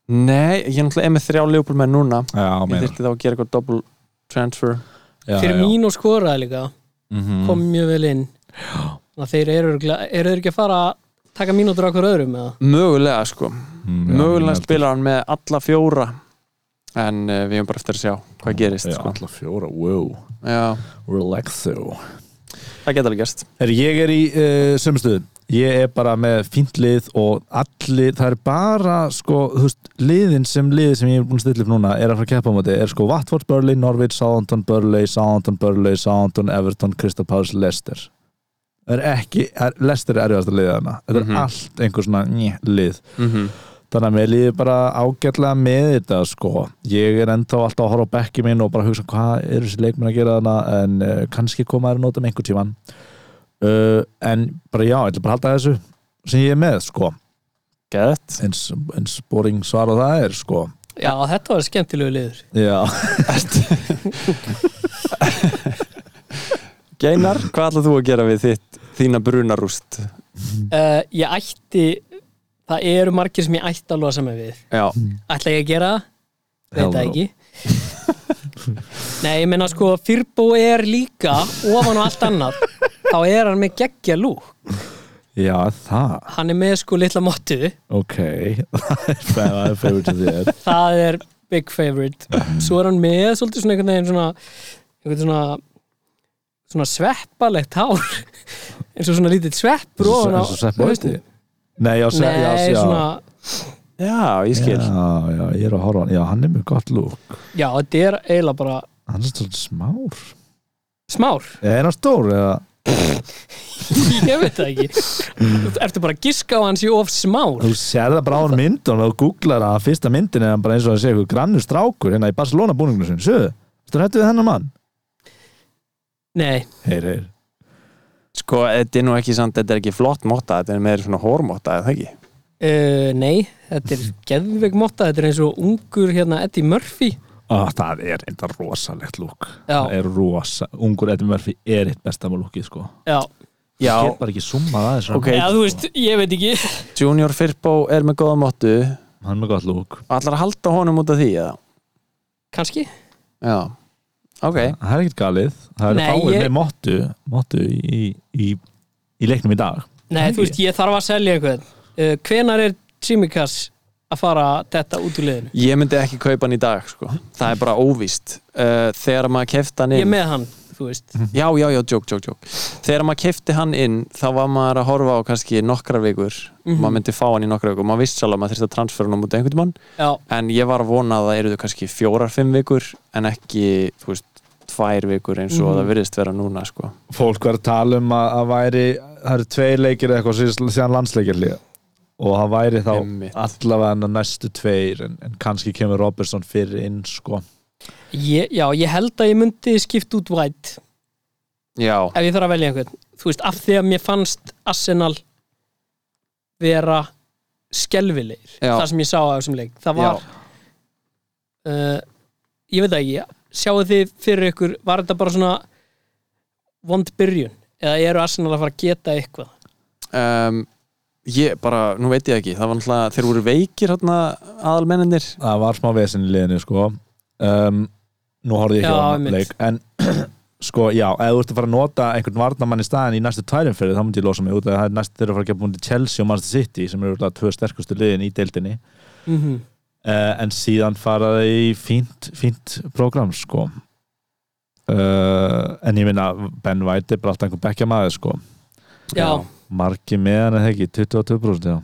nei, ég er náttúrulega er með þrjá leifbúl með núna Já, ég meina þyrfti þá að gera eitthvað double transfer Já, fyrir já. mín og skoraði líka Mhm. kom mjög vel inn þannig að þeir eru, örugglega- eru þeir ekki að fara að taka mínútur á hver öðrum eða? mögulega sko Mm, já, mögulega meina- spilar hann með alla fjóra en uh, við höfum bara eftir að sjá hvað gerist Já, sko. alla fjóra, wow já, Relaxo það geta alveg gerst Herri, ég er í uh, sömustuðum Ég er bara með fínt lið og allir, það er bara sko, þú veist, liðin sem liðið sem ég er búin að stilla upp núna er að fara að keppa á móti er sko Watford, Burley, Norwich, Southampton, Burley Southampton, Burley, Southampton, Everton Crystal Palace, Leicester Það er ekki, er, Leicester er erfiðast að liða þarna þetta Mhm. er allt einhver svona njæ, lið mm -hmm. þannig að mér líður bara ágætlega með þetta sko, ég er ennþá alltaf að horfa á bekki minn og bara hugsa hvað eru þessi leikmenn að gera þarna en uh, kannski koma þær að nota um einhver tíman uh, en bara já, ég ætla bara að halda þessu sem ég er með sko gett eins, eins boring svar á það er sko já, þetta var skemmtilegu liður já, Geinar, hvað ætlað þú að gera við þitt þína brunarúst uh, ég ætti það eru margir sem ég ætti að losa mig við já, ætla ég að gera það? veit það Hello. ekki nei, ég meina sko Firbo er líka ofan á allt annað þá er hann með geggja lú já það, hann er með sko litla mottu ok það er- það er favorite of þér það er big favorite svo er hann með svolítið svona einhvern veginn svona einhvern svona svona sveppalegt hár eins og svona lítið sveppur ofan á eins og sepp bóisti nei, já, se, nei, já, já, svona já, ég skil já, já, ég er að horfa á hann já, hann er með gott lúk já, þetta er eiginlega bara hann er svolítið smár smár, Er hann stór eða? ég veit það ekki Þú- ertu bara að giska á hans í of smár Þú sér það bara á hann myndun og þú googlar að fyrsta myndin er hann bara eins og að segja eitthvað grannur strákur hérna í Barcelona búninginu sinni, sögðu? Þú hættu við hennar mann? nei, Heyr, heyr. sko, þetta er nú ekki samt, þetta er ekki flott móta þetta er meður svona hórmóta, er það ekki Uh, nei, þetta er geðveik motta, þetta er eins og ungur hérna Eddie Murphy Ó, það er enda rosalegt lúk. Já. Það er rosa. Ungur Eddie Murphy er eitt besta með lúkið sko. Já, já, Ég get bara ekki summað aðeins. Ok. eða þú veist, ég veit ekki Junior Firpo er með góða mótu Hann er með gott lúk. og ætlar að halda honum út af því, eða? Kanski, já ok, það er ekkert galið það eru Nei, fáir ég- með mottu, mottu í, í, í leiknum í dag Nei, þú veist, ég þarf að selja einhvern uh, Hvenar er Tsimikas að fara þetta út úr liðinu? ég myndi ekki kaupa hann í dag sko. það er bara óvíst uh, þegar maður kefti hann Ég er inn með hann, þú veist já, já, já, joke, joke, joke þegar maður kefti hann inn, þá var maður að horfa á kannski nokkrar vikur, maður myndi fá hann í nokkrar vikur, maður vissi alveg að maður þyrfti að transfera hann út einhvern mann, Já, en ég var að vona að það eru kannski fjórar, fimm vikur en ekki, þú veist, tvær vikur eins og Mhm. það virðist vera núna sko. fólk var að tala um að, að væri það eru tveir leikir eða eitthvað síðan- síðan landsleikir hlýða og það væri þá Einmitt. allavega næstu tveir en, en kannski kemur Robertson fyrir inn sko ég, já, ég held að ég myndi skipt út vætt já, ef ég þarf að velja einhvern Þú veist, af því að mér fannst Arsenal vera skelfilegir Já. Það sem ég sá af þessum leik Það var, uh, ég veit það ekki, sjáu þið fyrir ykkur Var þetta bara svona vond byrjun? Eða eru Arsenal að fara að geta eitthvað? um, ég bara, nú veit ég ekki það var náttúrulega, þeir voru veikir hérna, aðalmennir það var smá vesen í liðinu sko um, nú horfði ég Já, ekki á þennan einmitt. leik en sko já, ef þú ert að fara að nota einhvern varnamann í staðin í næstu tværum fyrir þá myndi ég losa mig út af því að það er næst þeirra að fara að gefa búin til Chelsea og Manchester City sem eru örugglega tvö sterkustu liðin í deildinni Mm -hmm. uh, en síðan fara það í fínt, fínt program sko uh, en ég minna Ben White er bara alltaf einhver bekkja maður sko Já, margi með hann eða ekki, 22% já.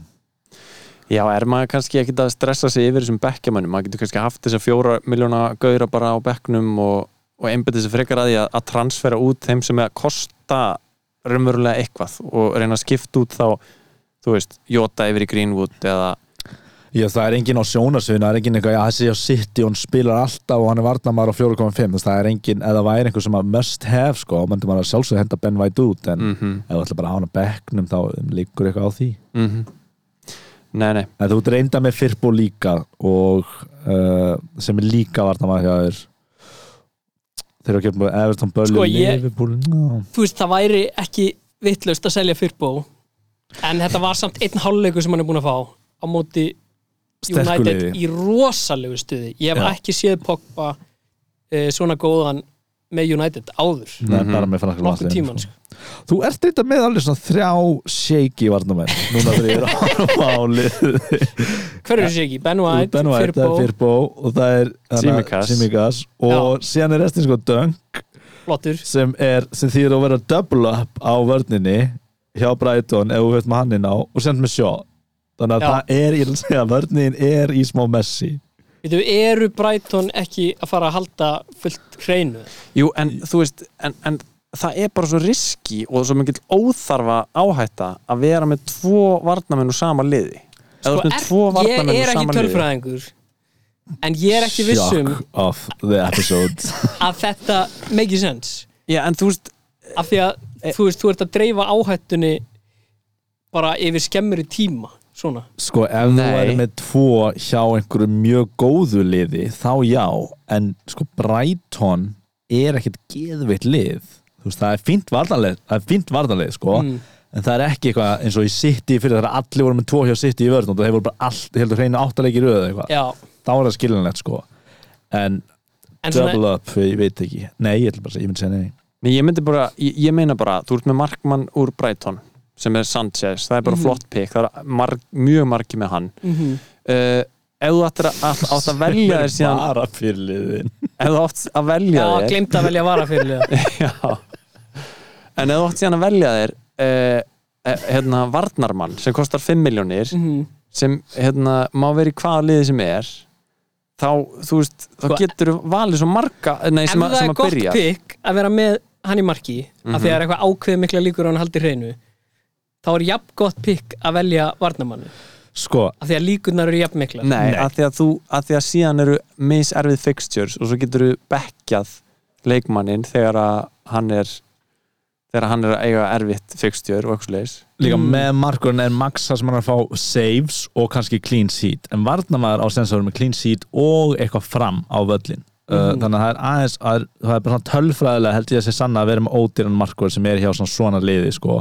Já, er maður kannski ekki að stressa sig yfir þessum bekkjamönnum, maður getur kannski haft þessar fjóra miljóna gauðra bara á bekknum og, og einbytta sér frekar að því að, að transfera út þeim sem er að kosta raunverulega eitthvað og reyna að skipta út þá, þú veist, Jota yfir í Greenwood eða, Já, það er engin á sjónarsviðinu, það er engin eitthvað, já, þessi á City, hún spilar alltaf og hann er varnamar á 4.5, þess að það er engin, eða væri einhver sem að must have, sko, þá myndi maður að sjálfsögðu henda Ben White út, Mm. en mhm, mhm ef þú ætla bara að hafa hann á bekknum, þá liggur eitthvað á því. mhm. Nei, nei, En þú reynda með Firpo líka, og uh, sem er líka varnamar hjá þér, þeir eru að gefa Everton Böllu, Sko, ég- Liverpool, ná. þú veist, það væri ekki vittlust að selja fyrrbó en þetta var samt einn hálfleiku sem hann er búin að fá á móti Sterku United liði. í rosalegu stuði ég hef Já. ekki séð Pogba e, svona góðan með United áður Það er bara með franska nokkuð landsliðinu, tíman sko. Mhm. sko. Þú ert reynda með alveg svona þrjá shaky varnamenn, núna þegar ég er að horfa á lið sko. hver er þessi ekki? Ben White, Ben White, það er Firpo, Firpo og það er Tsimikas. Simikas og síðan er restin sko Dunk Flottur sem, er, sem þýðir að vera double up á vörninni hjá Brighton ef þú veit með hann inn á og sent með sjó þannig að Já. það er, ég vil segja, vörnin er í smá messi Veitum, eru Brighton ekki að fara að halda fullt hreinu? jú, en þú veist, en, en það er bara svo riski og svo mikill óþarfa áhætta að vera með tvo varnamenn úr sama liði Eða þú ert með tvo ég varnamenn úr Sko, er ekki sama liði. tölfræðingur en ég er ekki viss um Shock of the episode að þetta make sense Já, en þú veist, af því að Eh. þú veist, þú ert að dreifa áhættunni bara yfir skemmri tíma svona, Sko, ef þú Nei. væri með tvo hjá einhverju mjög góðu liði, þá já, en sko Brighton er ekkert geðveitt lið, þú veist, það er fínt varnarlið, það er fínt varnarlið, sko, Mm. en það er ekki eitthvað eins og í City fyrir það að allir voru með tvo hjá City í vörðnum og það hefur bara allt, heldur hreinu áttalegi röð eða eitthvað, já þá er það skiljanlegt, sko, en en double svona, up, ég veit ekki, nei, ég ætla bara að segja, ég myndi segja nei, Nei, ég myndi bara, ég, ég meina bara, þú ert með markmann úr Brighton sem er Sanchez, það er Mhm. bara flott pick það er marg, mjög margi með hann mm uh, ef þú átt að, að, átt að velja þér síðan bara fyrir liðin, ef þú átt að velja já, þér glemt að velja vara fyrir liða já. en ef þú átt síðan að velja þér uh, hérna Varnarmann sem kostar 5 miljónir Mhm. sem hérna má vera í hvaða liði sem er þá, þú veist, þá Sko, getur þú valið svo marga, nei, ef sem, að- það sem er að gott byrja Mhm. pikk að vera með hann í marki af því að það er eitthvað ákveð mikla líkur á hann haldi hreinu þá er jafn gott pikk að velja varnamannu sko, af því að líkurnar eru jafn mikla Nei, Nei. Af, því að þú, af því að síðan eru miserfið fixtures og svo getur þú bekkjað leikmannin þegar að hann er þegar hann er að eiga erfitt fixture og eitthvað leis líka með markurinn er maxa sem hann er að fá saves og kannski clean sheet en varnamaður á sensor með clean sheet og eitthvað fram á völlin uh, þannig að það er aðeins það er, það er bara svona tölfræðilega held ég að sé sanna að vera með ódýran markur sem er hjá svona svona liði sko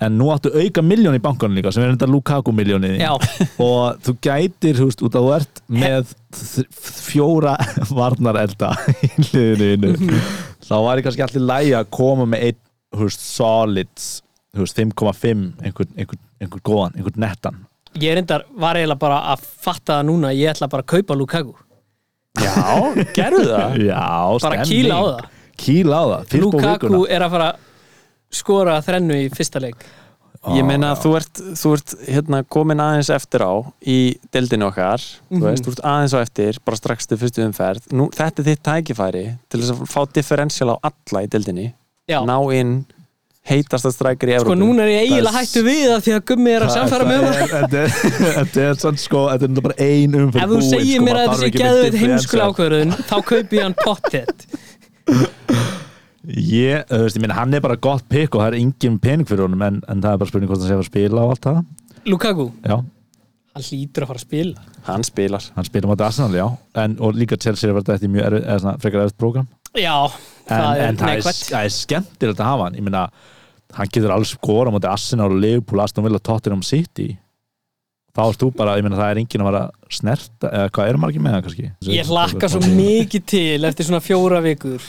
en nú áttu auka miljón í bankanum líka sem er þetta Lukaku miljónið þín. Já. og þú gætir, þú veist, út að þú ert með þ- fjóra varnarelda í liðinu mm. Mhm. þá var ég kannski allir lægi að koma með einn, þú veist, solids þú veist, 5,5 einhvern, einhvern, einhvern góðan, einhvern nettan Ég reyndar var eiginlega bara að fatta það núna ég ætla bara að kaupa Lukaku Já, gerðu það Já, Bara stemning. kýla á það. Kýla á það, fyrst og vikuna Lukaku er að fara að skora þrennu í fyrsta leik Ah, Ég meina að þú ert, þú ert hérna komin aðeins eftir á í deildinu okkar, Mhm. þú veist, þú ert aðeins á eftir bara strax til fyrstu umferð Nú, þetta er þitt tækifæri til þess að fá differential á alla í deildinni Já, ná inn heitasta strækir í sko Evrópu núna er ég eiginlega Það er- hættu við það því að gummi er að samfæra mig um það Þetta er- þetta er sann sko, þetta er nú bara ein umfyrir Ef þú sko, segir mér að þetta sé geðveit heimskulega ákvörðun þá kaupi ég hann pottet Ég, eh, þú veist, ég minna, hann er bara gott pikk og það er engin pening fyrir honum en, en það er bara spurning hvort hann sé að fara að spila og allt það Lukaku, Já, hann hlýtur að fara að spila Hann spilar hann spila mátti Arsenal, já en, og líka Chelsea er verið þetta í mjög erfið eða svona frekar erfið prógram Já, það en, er en það, er, neikvætt það er skemmtilegt að hafa hann ég minna, hann getur alls skora mátti Arsenal og Liverpool, Aston Villa, Tottenham City þá ert þú bara, ég minna, það er engin að vera snerta, eða hvað er margir með það kannski Ég hlakka svo mikið til eftir svona fjóra vikur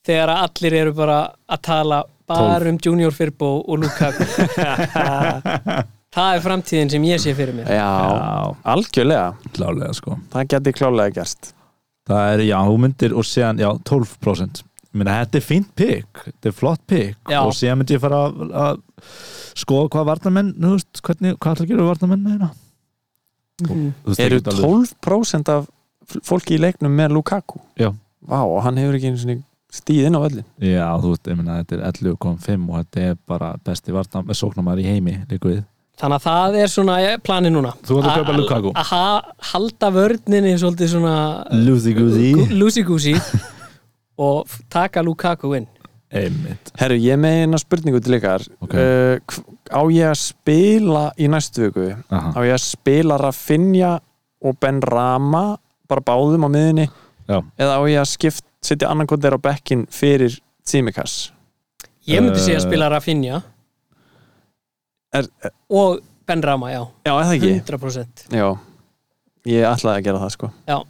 þegar að allir eru bara að tala bara um Junior Firbo og Lukaku Það er framtíðin sem ég sé fyrir mér Já, Já. algjörlega, klálega sko það geti klálega gerst Það er, já, hún myndir og séðan, já, 12% Ég meina, þetta er fínt pikk, þetta er flott pikk Já. og séðan myndi ég fara að, að skoða hvað varnamenn, þú veist, hvernig, hvað ætlar að gera við varnamenn með hérna Mhm. Þú veist, Eru ekki alveg- 12% af f- fólki í leiknum með Lukaku Já. Vá, og hann hefur ekki einu sinni stíð inn á öllin Já, þú veist, ég meina, þetta er 11.5 og þetta er bara besti varnamenn, sóknamaður í heimi, líku við Þannig að það er svona eh, planið núna Þú ætlar að kaupa Lukaku? Að ha- halda vörninni svolítið svona Lúði-gúði Lucy-goosey og f- taka Lukaku inn Einmitt Herru, ég er með eina spurningu til ykkar Ok. uh, Á ég að spila í næstu viku Á Aha, ég að spila Rafinha og Ben Rama bara báðum á miðunni já eða á ég að skipt, setja annarkot þeirra á bekkin fyrir Tsimikas Ég myndi segja að Eh. spila Rafinha Er- og Ben Rama, já Já, eða ekki 100% Já, ég ætlaði að gera það sko Já.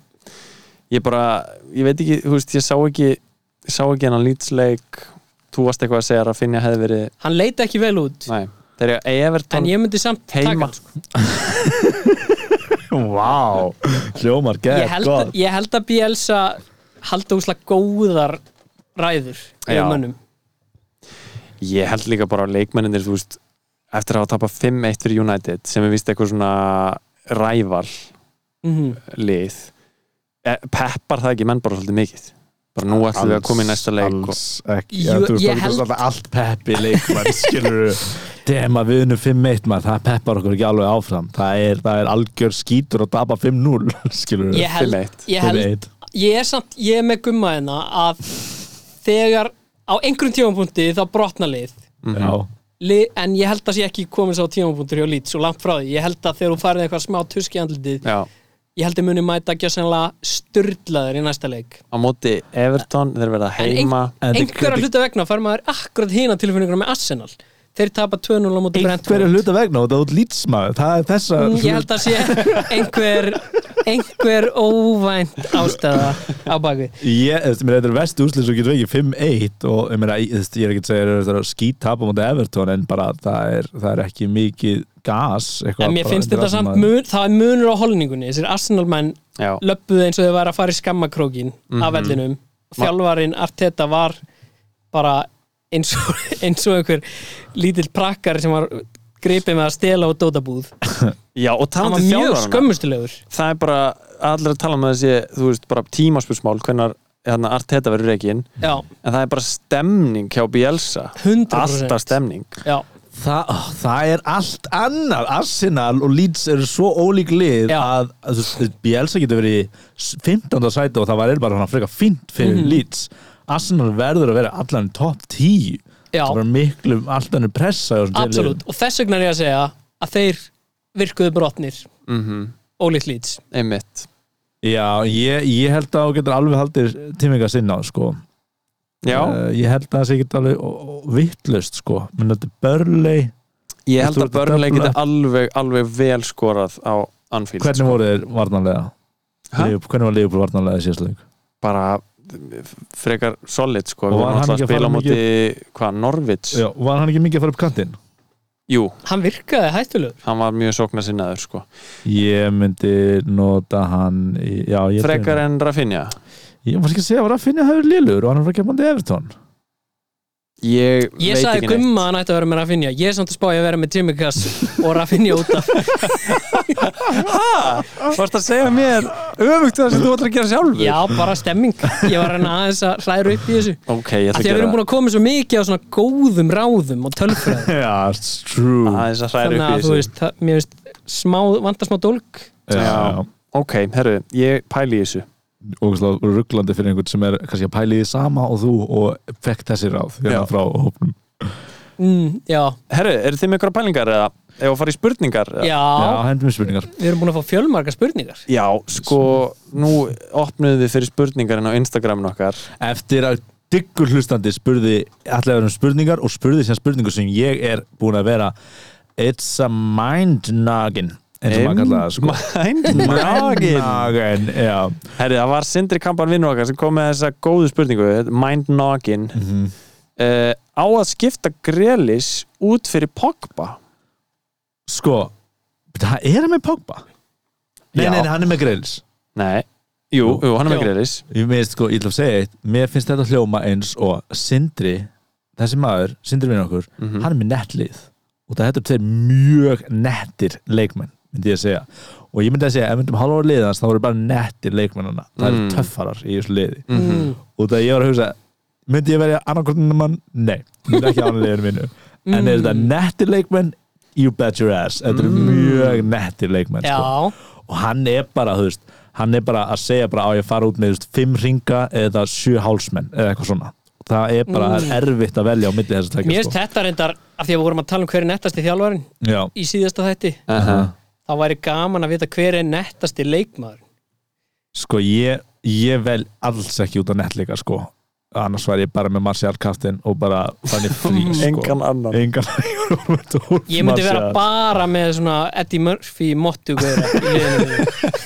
Ég bara, ég veit ekki, þú veist, ég sá ekki ég sá ekki hennan lýtsleik þú varst eitthvað að segja að Finja hefði verið Hann leita ekki vel út Nei, þegar ég En Everton ég myndi samt taka heima hann, sko. Vá, hljómar Eh, ég, gett, held að, gott ég held að Bielsa halda úslega góðar ræður Já. yfir mönnum Ég held líka bara á leikmenninir, þú veist eftir að hafa tapað 5-1 fyrir United sem er vist eitthvað svona ræval mm lið Eh, peppar það ekki menn bara svolítið mikið bara nú ætlum við að koma í næsta leik sko. og... alls ekki, Jú, ja, þú veist, ég það er held- alltaf allt peppi leikmann skilur dema við unum 5-1 maður, það peppar okkur ekki alveg áfram það er, það er algjör skítur að daba 5-0 skilur Ég held, 5-1. ég held ég er samt, ég er með gummaðina að þegar á einhverjum tímapunkti þá brotna lið Mhm. já, Lið, en ég held að sé ekki komin sá tímapunktur hjá lít svo langt frá því, ég held að þegar þú farið eitthvað smá tuski andlitið, Já, ég held að muni mæta ekki að sennilega styrlaður í næsta leik á móti Everton, þeir verða en heima En þetta einhverja getur- hluta vegna fær maður akkurat hína tilfinninguna með Arsenal þeir tapa 2-0 á móti Brentford einhverju hluta vegna og það út lýtsmaður, það er þessa Mm, ég held að sé einhver einhver óvænt ástæða á bakvið Ég, þú veist, mér þetta er vestu úslið sem getur ekki 5-1 og ég meina, ég, þú veist, ég er ekki að segja það er skítapa mútið Everton en bara það er, það er ekki mikið gas eitthvað en mér bara finnst undir þetta allt samt maður- mun, það er munur á holningunni þessir Arsenal menn Já, löppuðu eins og þau væri að fara í skammakrókin Mhm. af vellinum og þjálfarin Arteta var bara eins og, eins og einhver lítill prakkar sem var gripið með að stela og dótabúð Já og hann var talandi mjög þjálfarana skömmustulegur það er bara allir að tala um þessi þú veist bara tímaspjörsmál hvernar hérna, Arteta verður reygin já, en það er bara stemning hjá Bielsa 100% alltaf stemning já, Það, ó, það er allt annað Arsenal og Leeds eru svo ólík lið Já. að, að þú veist, Bielsa getur verið í 15. sæti og það var er bara hann frekar fínt fyrir Mhm. Leeds Arsenal verður að vera allan í topp 10 já, það var miklu allt annir pressa hjá þessum tveim absolutt liðum. og þess vegna er ég að segja að þeir virkuðu brotnir mm ólíkt lýts einmitt Já, ég, ég held að þú getur alveg haldir tíminga sinna sko. Já, Eh, ég held að það sé ekki alveg vittlust sko, menn þetta er Burnley ég held þú að ert að Burnley döfla- geti alveg, alveg vel skorað á Anfield sko. hvernig voru þeir varnarlega? Ha? Liverpool- hvernig var Liverpool varnarlega í síðasta leik? bara frekar solid sko, Og við var varum hann alltaf að ekki að fara spila á móti mikið- hvað, Norvits? Já, var hann ekki mikið að fara upp kantinn? Jú, Hann virkaði hættulegur hann var mjög sóknarsinnaður sko. Ég myndi nota hann í, já, ég, frekar en Rafinha ég var ekki að segja að Rafinha hefur liður og hann var ekki að mandi Everton ég, Ég veit sagði ekki neitt Gumma að hann ætti að vera með Rafinha Ég er samt að spá ég að vera með Jimmy Cass og Rafinha út af Ha? varst að segja mér öfugt það sem þú ætlar að gera sjálfur Já, bara stemming Ég var að reyna aðeins að hlæra upp í þessu ok, ég Af ætla að Því að við gera erum búin að koma svo mikið á svona góðum ráðum og tölfræðum Já, it's true aðeins að hræra upp Þannig í að þú þessu veist, það, mér veist smá, vantar smá dólk Já, Já. ok, herru, ég pæli í þessu ógæslega rugglandi fyrir einhvern sem er kannski að pæli því sama og þú og fekk þessi ráð hérna Já. frá hópnum mm, Já, herru, eru þið með ykkur pælingar eða ef að fara í spurningar eða? já, Já, hendum við spurningar við erum búin að fá fjölmarga spurningar já, sko, nú opnuðu við fyrir spurningarinn á Instagramin okkar Eftir að diggur hlustandi spurði allavega um spurningar og spurði sem spurningu sem ég er búin að vera It's a mind noggin eins og maður kallaði það sko Mindnoggin noggin, já Herri, það var Sindri Kampan vinnur okkar sem kom með þessa góðu spurningu Mindnoggin mm Á að skipta Grelis út fyrir Pogba Sko, það er hann með Pogba Nei, Já. nei, nei, hann er með Greils Nei, jú, jú hann er með Jú. Grelis Ég veist, sko, ég ætla að segja eitt Mér finnst þetta hljóma eins og Sindri Þessi maður, Sindri vinn okkur Hann er með nettlið Og það þetta er tveir mjög nettir leikmenn Myndi ég að segja Og ég myndi að segja, ef myndum halvóra liðans Þá voru bara nettir leikmennana Það eru Mm. töffarar í þessu liði mm Og það ég var að hugsa Myndi ég verja annarkortinu mann? Nei, myndi ekki annað liðinu mínu En er þetta nettir leikmenn? You bet your ass Þetta eru mjög nettir leikmenn sko Já, og hann er bara, þú veist hann er bara að segja bara á ég að fara út með þú veist, fimm ringa eða sjö hálsmenn eða eitthvað svona það er bara það er erfitt að velja á milli þess að Mm. mér tekja finnst þetta reyndar af því að við vorum að tala um hver er nettasti þjálfarin já, í síðasta þætti -huh. þá væri gaman að vita hver er nettasti leikmaður sko ég, ég vel alls ekki út á nettleika sko annars var ég bara með Marcial Kaftin og bara þannig frí sko. Engan annan. engan annan Ég myndi vera bara með svona Eddie Murphy mottugöra í liðinu mínu.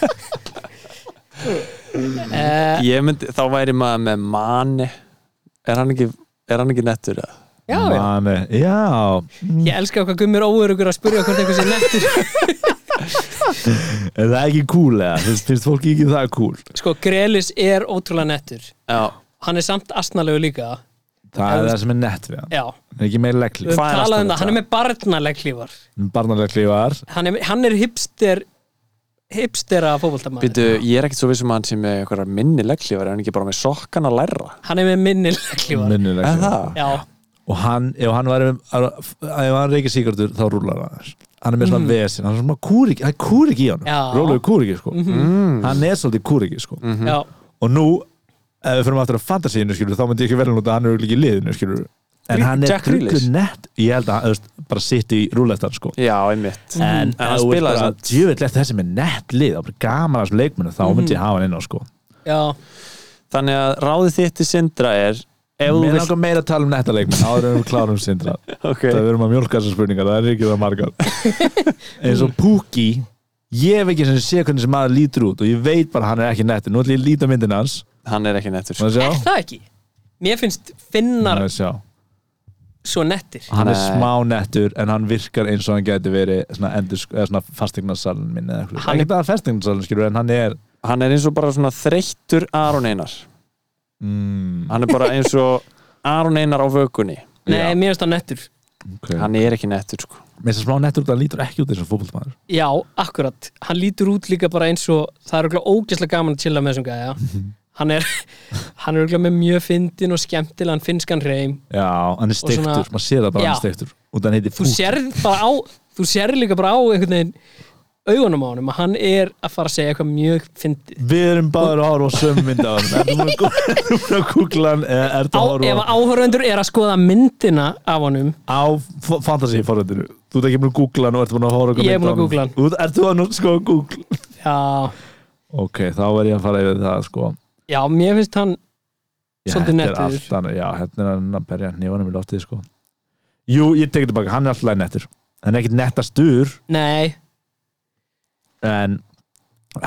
Eh, Ég myndi, þá væri maður með Mane Er hann ekki, er hann ekki nettur? eða? Já, já, Mane, eh, já, ég elska okkar gummir óörugur að spyrja hvort einhvers er nettur er það ekki cool eða? Finnst, finnst fólki ekki það cool? Sko, Grelis er ótrúlega nettur Já, Hann er samt astnalegu líka Það er það sem er nett við hann, Já, Hann er ekki meira við leggli höfum Hvað er talað um asnalegt það, hann er með barnalegklífar barnalegli var Hann er, hann er hipster hipstera fótboltamaður býtu, ég er ekkit svo vissum að hann sem með einhverjar minni legglífar er hann ekki bara með sokkan að læra Hann er með minnilegklífar minnilegli Er það? Já, og hann, ef hann var ef hann reykir sigurður, þá rúlar hann aðeins hann er með Mhm. svona vesinn, hann er svona kúrik það er kúrik í hann, Já. rólegur kúriki sko. Mhm. hann er svolítið kúriki sko. já, og nú, ef við fyrir aftur að fantasíinu skilur, þá myndi ég ekki vel nút að hann er örugglega ekki í liðinu skilur. en Grí- hann er Jack Grealish. drullu nett ég held að hann þú veist, bara sitt í rúletan sko. Já, einmitt en Mhm. En hann ef þú ert spilaði bara samt. Mhm. djöfellegt þessi með nett lið, það er bara gaman að þessu leikmennu þá myndi ég hafa hann inn á sko. já Þannig að ráðið þitt í Sindra er Ef þú Mér vilt langar meira að tala um netta leikmenn áður en við klárum sindra Ok. Það við erum að mjólka þessar spurningar, það er ekki það margar eins og Pukki ég hef ekki sem sé hvernig sem maður lítur út og ég veit bara að hann er ekki netti nú ætlum ég að líta myndin hans Hann er ekki nettur Má ég Er sjá? það ekki? Mér finnst Má finnar ég sjá? svo nettir hann er Nei. smá nettur en hann virkar eins og hann gæti verið svona, endur, eða svona fastegnasalun minn eða eitthvað Hann er- ekki bara fastegnasalun skilur en hann er hann er eins og bara svona þreyttur Aron Einar mm, hann er bara eins og Aron Einar á vökunni Nei, mér finnst það nettur okay. hann hann er ekki nettur sko með þess að smá nettur út hann lítur ekki út eins og fótboltmaður Já, akkurat, hann lítur út líka bara eins og það er auðvitað ógæslega gaman að chilla með þessum gæja hann er, hann er auðvitað með mjög fyndin og skemmtilegan finskan reym já, hann er Og svona- steiktur, maður sér það bara að hann Já. er steiktur og hann heitir þú sérð bara á þú sérð líka bara á einhvern veginn augunum á honum að hann er að fara að segja eitthvað mjög fyndið Við erum báður að horfa á sömu mynd af hann Ertu búin að- ertu búin að kúkla hann eða ertu á, að ef horfa áhörundur er að skoða myndina af honum á fantasy forrættinu Þú ert ekki búin að googla hann og ertu búin að horfa á Ég mynd er búin af að honum. googla hann. Þú ert- Ertu að nú sko að googla já, Ok, þá er ég að fara yfir það sko já, mér finnst hann Svolítið þetta er nettur. allt annað- Já, hérna er hann að berja nefnum í loftið sko. Jú, ég tekið tilbaka, hann er alltaf nettur Hann er ekkit nettastur Nei, En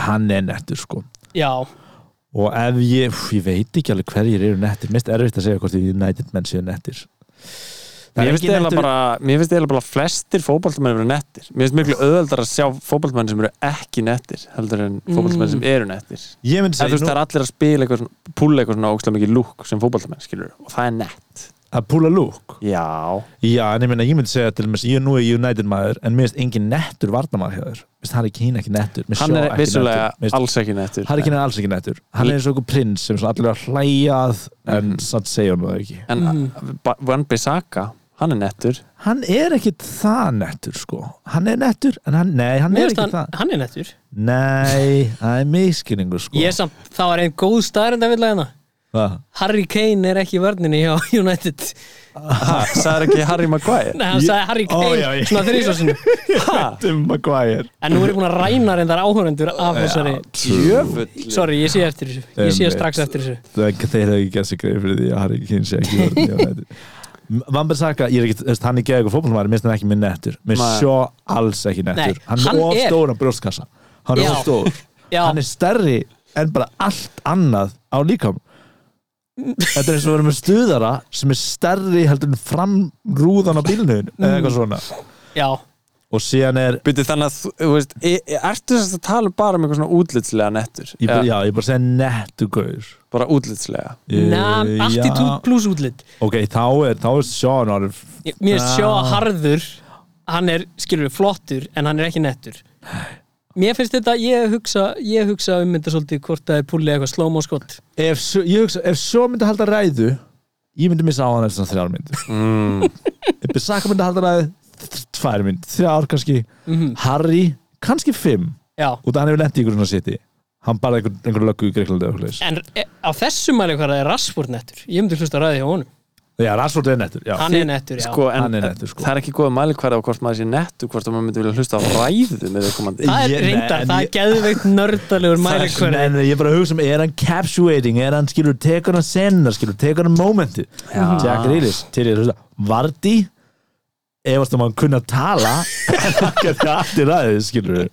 hann er nettur sko já Og ef ég, pff, ég veit ekki alveg hverjir eru nettir Mest erfitt að segja hvort því United menn séu nettir Það er Mér finnst ekki eiginlega nettur- bara, mér finnst eiginlega bara flestir fótballtamenn eru nettir. Mér finnst miklu öðaldar að sjá fótballtamenn sem eru ekki nettir heldur en fótballtamenn sem eru nettir. Ég En myndi þú segja veist, nú það er allir að spila eitthvað svona, púla eitthvað svona ógstlega mikið lúk sem fótballtamenn, skilur, og það er nett. að púla lúk Já. Já, en ég meina, ég myndi segja til þess Ég nú er United maður, en mér finnst engin nettur varnamaður hjá þér Mér finnst hann er ekki hinn ekki nettur Mér Hann Shaw er ekki vissulega nettur. Mér finnst- alls ekki nettur. Hann er ekki hann alls ekki nettur Hann er eins og einhver prins sem svona allir eru að hlæjað Mhm. En satt segja hann það ekki En mm. Wan-Bissaka, hann er nettur. Hann er ekki það nettur sko Hann er nettur, en hann, nei, hann Mér er finnst ekki hann, það hann er nettur Nei, það er miskinningu sko Ég samt, það var einn góð staðrind að vilja hérna Það Harry Kane er ekki í vörninni hjá United Sæður ekki Harry Maguire? Nei, hann Ég- sagði Harry Ó, Kane já, ég- svona þrísvarsinu Ha? Tim Maguire En nú er ég búin að ræna reyndar áhörendur af þessari Jöfull. Sorry, ég sé eftir þessu Ég sé Einmitt. strax eftir þessu Þeir hefðu ekki gert sér greið fyrir því að Harry Kane sé ekki orðin í United Vambar Saka, ég er ekki, þú veist, hann er geðið eitthvað fótbolmaður, minnst hann ekki minn nettur Mér Nei. sjó alls ekki nettur Nei, Hann er hann of er- stóran brjóstkassa Hann Já. er of stór Já, Hann er stærri en bara allt annað á líkam Þetta er eins og verður með stuðara sem er stærri heldur en framrúðan á bílnuðin eða eitthvað Mm. svona já og síðan er Byrju þannig að þú, þú veist, e- e- ertu þess að tala bara um eitthvað svona útlitslega nettur? ég, bara, Eða já, ég bara segja nettu gaur Bara útlitslega? Ég- Na, Eh, já. Attitude plus útlit Ok, þá er, þá er Sean orð Ég- Mér finnst Já. sjá að harður Hann er, skilur við, flottur En hann er ekki nettur Mér finnst þetta, ég hugsa, ég hugsa um þetta svolítið hvort það er púlið eitthvað slow-mo skott ef, Sjo- ég hugsa, ef Sean myndi halda ræðu ég myndi missa á hann eftir svona þrjár mynd Mm. ef Bissaka myndi halda ræðu þ- tvær mynd, þrjár kannski Harry, kannski fimm Já, út af hann hefur lent í ykkur svona seti hann bara einhver, einhver löggu í Greiklandi eða eitthvað en e, á þessu mæli hvað er Rashford nettur Ég myndi hlusta ræði hjá honum Já, Rashford er nettur já. Hann er nettur, já Sko, en Hann er nettur, sko. það er ekki góða mælikvæða á hvort maður sé nettur, hvort að maður myndi vilja hlusta á ræðu með viðkomandi. Það Ég- er nei, reyndar, en það ég- er geðveikt nördalegur mæli Nei, nei, nei, ég er bara að hugsa um, er hann captuating er hann skilur tekur hann senna skilur tekur hann momenti Já. Jack Reelis til ég hlusta Vardí efast um að hann kunna tala en hann gerði allt í ræðu skilur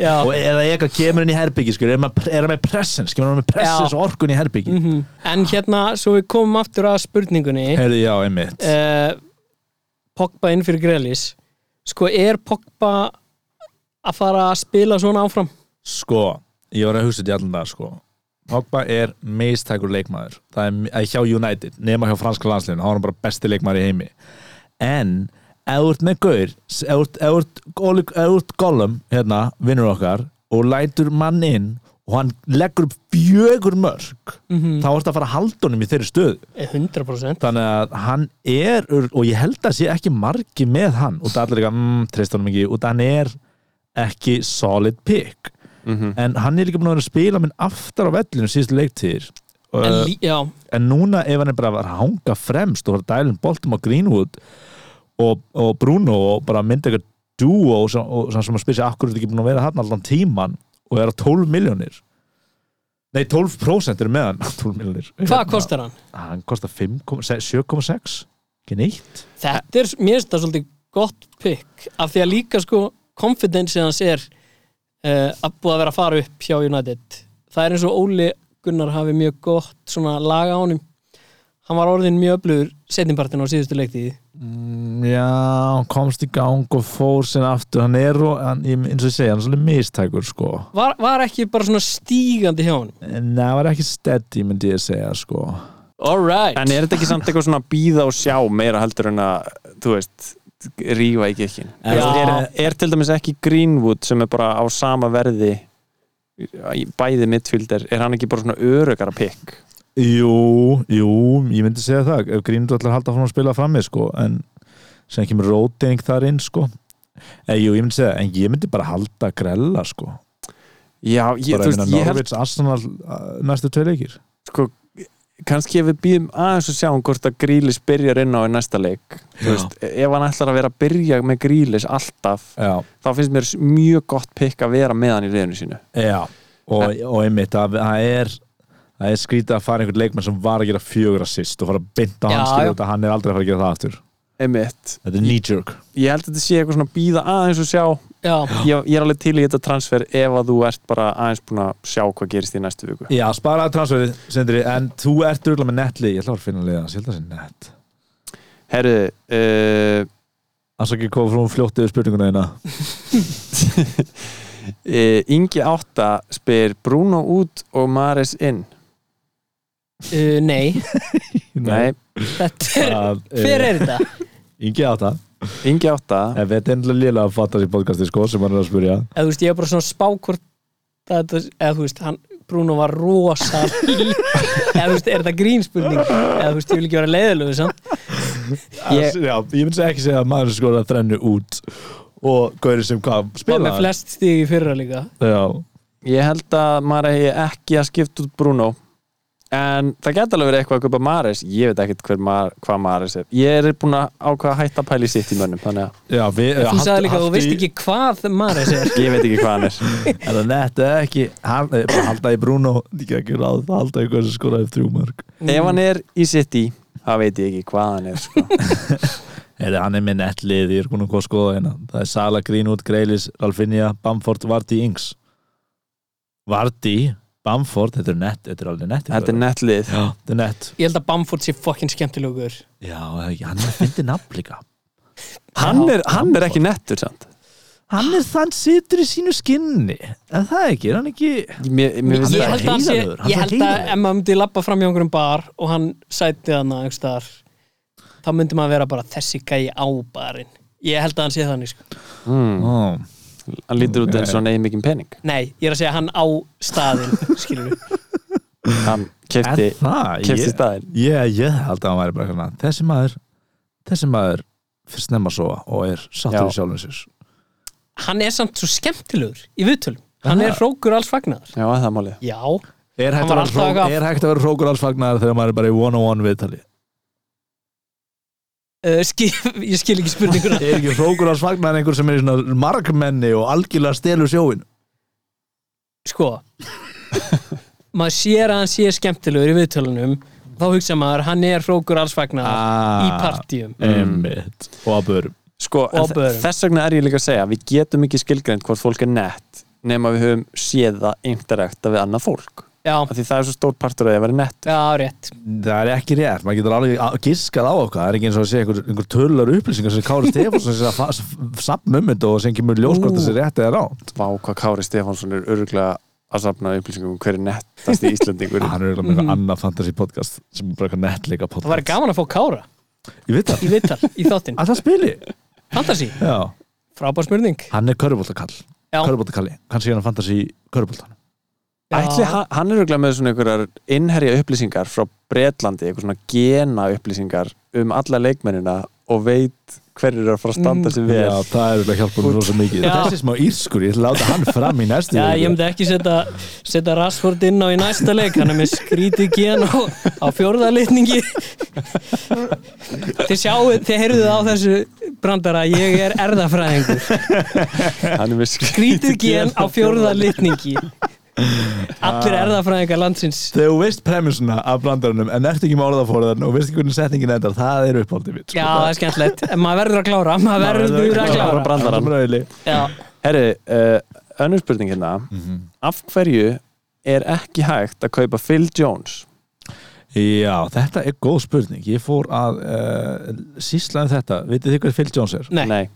Já, og er það eitthvað kemur hann í herbyggi skilur er hann með- er hann með presence kemur hann með presence Já. og orkun í herbyggi mhm. en hérna, svo við komum aftur að spurningunni Herri, já, einmitt uh, Pogba inn fyrir Grelis sko er Pogba að fara að spila svona áfram sko, ég var að hugsa þetta í allan dag sko Pogba er mistækur leikmaður það er eh, hjá United, nema hjá franska landsliðinu þá er hann bara besti leikmaður í heimi en ef þú ert með gaur s- ef þú ert- ef þú ert Gollum- ef þú ert Gollum hérna, vinnur okkar og lætur mann inn og hann leggur upp fjögur mörg Mhm. þá ertu að fara að halda honum í þeirri stöðu Eh, 100% þannig að hann er ör- og ég held að sé ekki margi með hann og það allir ekki að mm, treysta honum ekki og það hann er ekki solid pick en hann er líka búin að vera að spila minn aftar á vellinu síðustu leiktíðir en, en, lí- já, eh, en núna ef hann er bara að vera að hanga fremst og vera að dælum boltum á Greenwood og, og Bruno og bara mynda eitthvað duo og, sem- og, sem- sem að spyrja akkur er þetta ekki búin að vera hann allan tíman og er á 12 miljónir nei 12% eru með hann 12 miljónir hvað kostar hann? hann kostar 7,6 ekki neitt þetta er, mér finnst það svolítið gott pick af því að líka sko confidence hans er uh, að búið að vera að fara upp hjá United það er eins og Óli Gunnar hafi mjög gott svona lag á honum hann var orðin mjög öflugur setjumpartin á síðustu leiktíði já, hann komst í gang og fór sinna aftur, hann er og, hann, ég- eins og ég segja, hann er svolítið mistækur sko var, var ekki bara svona stígandi hjá honum en það var ekki steady myndi ég segja sko alright En er þetta ekki samt eitthvað svona býða og sjá meira heldur en að, þú veist, rífa í gekkin? Já. Er, er til dæmis ekki Greenwood sem er bara á sama verði í bæði midfielder, er hann ekki bara svona örugara pikk? jú, jú, ég myndi segja það ef Grínur ætlar að halda frá að spila frammi sko en sem kemur róting þar inn sko en jú, ég myndi segja, það, en ég myndi bara halda grella sko, Já, ég, þú bara ég veist, meina ég held Norvits Arsenal uh, næstu tvei leikir sko, kannski ef við býðum aðeins og sjáum hvort að Grílis byrjar inn á í næsta leik Þú veist, ef hann ætlar að vera að byrja með Grílis alltaf, já, þá finnst mér mjög gott pikk að vera með hann í reyðinu sínu Já, og, og einmitt að það er það er skrítið að fara einhvern leikmann sem var að gera fjögur assist og fara að binda Já, hann já. skilur þetta hann er aldrei að fara að gera það aftur Einmitt. þetta er knee jerk Ég held að þetta sé eitthvað svona býða aðeins og sjá já, ég, ég er alveg til í þetta transfer ef að þú ert bara aðeins búin að sjá hvað gerist í næstu viku já, sparaði transferið, sendri en þú ert rúglega með netli, ég ætla að finna liða ég held að það sé net Herru, uh, það ekki koma frá um fljótt yfir spurninguna eina uh, Ingi Átta spyr Bruno út og Maris inn uh, nei Nei, þetta er, Ah, eh. hver er þetta? Ingi á það Ingi Átta En þetta er endilega lélega að fatta sér podcasti sko sem hann er að spurja eða þú veist, ég er bara svona að spá hvort þetta, eða þú veist, hann Bruno var rosa eða þú veist, er þetta grínspurning eða þú veist, ég vil ekki vera leiðilegu samt ég, Já, ég myndi segja ekki segja að maður skora þrennu út og gauri sem hvað var með spila flest stig í fyrra líka Já, Ég held að maður eigi ekki að skipta út Bruno en það geta alveg verið eitthvað að köpa Maris ég veit ekkert hver Mar hvað Maris er ég er búin að ákvaða að hætta að pæli sitt í mönnum þannig að já við, þú sagði líka, að þú veist ekki hvað Maris er ég veit ekki hvað hann er Er það nett eða ekki hann, eh, bara halda í Bruno Líka ekki ráð það halda í hvað sem skoraði þrjú mörg ef hann er í sitt í það veit ég ekki hvað hann er sko. Eða hann er með nettlið, ég er konar hvað að skoða hérna Það er Sala, Greenwood, Greilis, Ralfinja, Bamford, Vardy, Ings Vardy, Bamford, þetta er nett, þetta er alveg nett þetta er nettlið Já, þetta er nett ég held að Bamford sé fokkin skemmtilegur Já, hann er fyndið nafn líka hann er, hann er ekki nettur samt Hann er þann situr í sínu skinni En það ekki, er hann ekki mér, mér finnst ég það held að, hann sé, heiðarlegur, hann ég er held að heiðarlegur. ef maður myndi labba fram hjá einhverjum bar og hann sæti hann að einhverstaðar þá myndi maður vera bara þessi gæi á barinn ég held að hann sé þannig sko. mm, oh. hann lítur út eins og hann eigi mikinn pening nei, ég er að segja hann á staðinn skilur hann En kefti, það kefti ég, staðin ég, ég held að hann væri bara svona Þessi maður Þessi maður fyrst nefn að sofa og er sattur Já. í sjálfum sér hann er samt svo skemmtilegur í viðtölum hann er hrókur alls fagnar já, það er málið já, Er Hann hægt, var að vera alltaf hrók, eitthvað- er hægt að vera hrókur alls fagnar þegar maður er bara í one-on-one viðtali uh, skil, ég skil ekki spurninguna Er ekki hrókur alls fagnar einhver sem er í svona margmenni og algjörlega stelur sjóin sko maður sér að hann sé skemmtilegur í viðtölunum þá hugsa maður hann er hrókur alls fagnar í Ah. partíum Emmitt Og að börum Sko, en Og þe- börum. þess vegna er ég líka að segja við getum ekki skilgreint hvort fólk er nett nema við höfum séð það interakta við annað fólk já, af því það er svo stór partur að það vera nett já, rétt Það er ekki rétt, maður getur alveg að- giskað á okkar, það er ekki eins og að sé einhver, einhver tölulegar upplýsingar sem Kári Stefánsson sé að sapna um þetta og sem kemur ljós hvort það sé rétt eða rátt. Vá, hvað Kári Stefánsson er öruglega að safna upplýsingum um hver er nettast í Íslandingur Hann er eiginlega með eitthvað annað fantasy podcast sem er bara eitthvað nettleika podcast. Mm. það væri gaman að fá Kára Ég veit það, í viðtal í þáttinn að það spili. fantasy, Já, frábær spurning hann er körubóltakall, já, körubóltakalli, kannski er hann fantasy körubóltan. já. Ætli, hann, hann er öruglega með svona einhverjar innherja upplýsingar frá Bretlandi, eitthvað svona gena upplýsingar um alla leikmennina og veit hverjir er að fara að Mm. standa sig vel Já, það er eiginlega hjálpað mér rosa mikið. Já. Þessi smá írskur, ég ætla að láta hann fram í næstu. Já, ég viku. myndi ekki setja setja Rashford inn á í næsta leik hann er með skrítið gen á, á fjórðalitningi Þið sjáu, þið heyrðuð á þessu brandara, ég er erðafræðingur hann er með skr- skrítið gen á fjórðalitningi Allir erðafræðingar landsins Þegar þú veist premisuna af brandaranum en ert ekki með orðaforðan og veist ekki hvernig setningin endar, það er uppáldið mitt. sko. Já, það er skemmtilegt, en maður verður að klára maður verður að klára. klára brandarann. brandarann. Já, Herri, uh, önnur spurning hérna Mhm. af hverju er ekki hægt að kaupa Phil Jones Já, þetta er góð spurning Ég fór að uh, sýsla um þetta Vitið þið hver Phil Jones er? nei,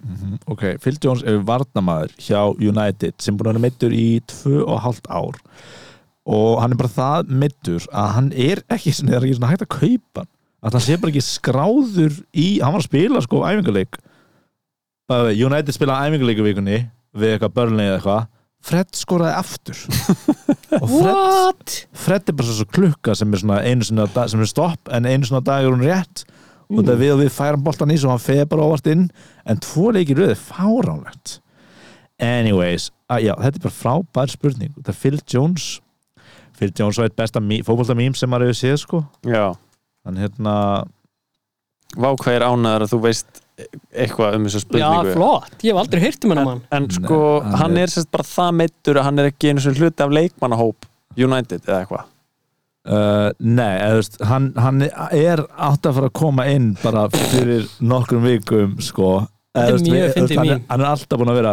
Ok, Phil Jones er varnamaður hjá United sem búin að vera meittur í tvö og hálft ár og hann er bara það meittur að hann er ekki, það er ekki svona hægt að kaupa hann að hann sé bara ekki skráður í hann var að spila sko æfingarleik Bæði, United spilaði æfingarleik í vikunni við eitthvað börnlega eða eitthvað Fred skoraði aftur og Fred what? Fred er bara svo klukka sem er svona einu sinna dag, sem er stopp en einu sinna dag er hún rétt og það við og við færum boltan í svo hann feði bara óvart inn en tvo leikir röðið fáránlegt anyways, að, já, þetta er bara frábær spurning þetta er Phil Jones Phil Jones var eitt besta fókbaltamím sem maður hefur séð sko Já hann hérna, Vá hvað er ánæður að þú veist eitthvað um þessu Já, spurningu flott, ég hef aldrei heyrt um hennar mann En sko, Nei, hann hann er- er sérst bara það meittur að hann er ekki einu sem hluti af leikmannahóp United eða eitthvað Uh, nei, eða, þú veist, hann, hann er átt að fara að koma inn bara fyrir nokkrum vikum sko Þetta er Eða, þú veist, mjög við- þú veist, fyndið hann, er- mím. hann er alltaf búin að vera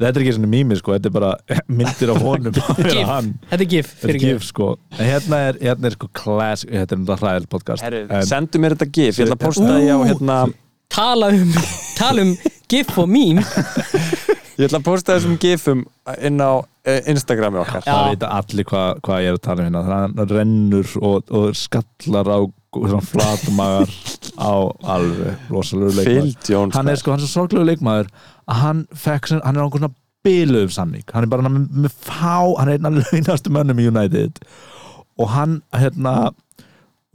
þetta er ekki svona mými sko, þetta er bara myndir af honum að vera gif, hann þetta er gif, þetta er fyrir gif sko en hérna er, hérna er sko class þetta er náttúrulega hræðil podcast Herru, en, sendu mér þetta gif, ég ætla að posta Ú. því á hérna, tala um, tala um gif og mím ég ætla að posta þessum gifum inn á eh, Instagrami okkar það Já. vita allir hvað hva ég er að tala um hérna þannig að hann rennur og, og skallar á svona flatmagar á alveg rosalegu leikmaður Phil Jones hann er sko, hann er svo sorglegu leikmaður að hann fekk, sem, hann er á einhvern svona biluðum samning, hann er bara með, með fá hann er einn af launastu mönnum í United og hann, hérna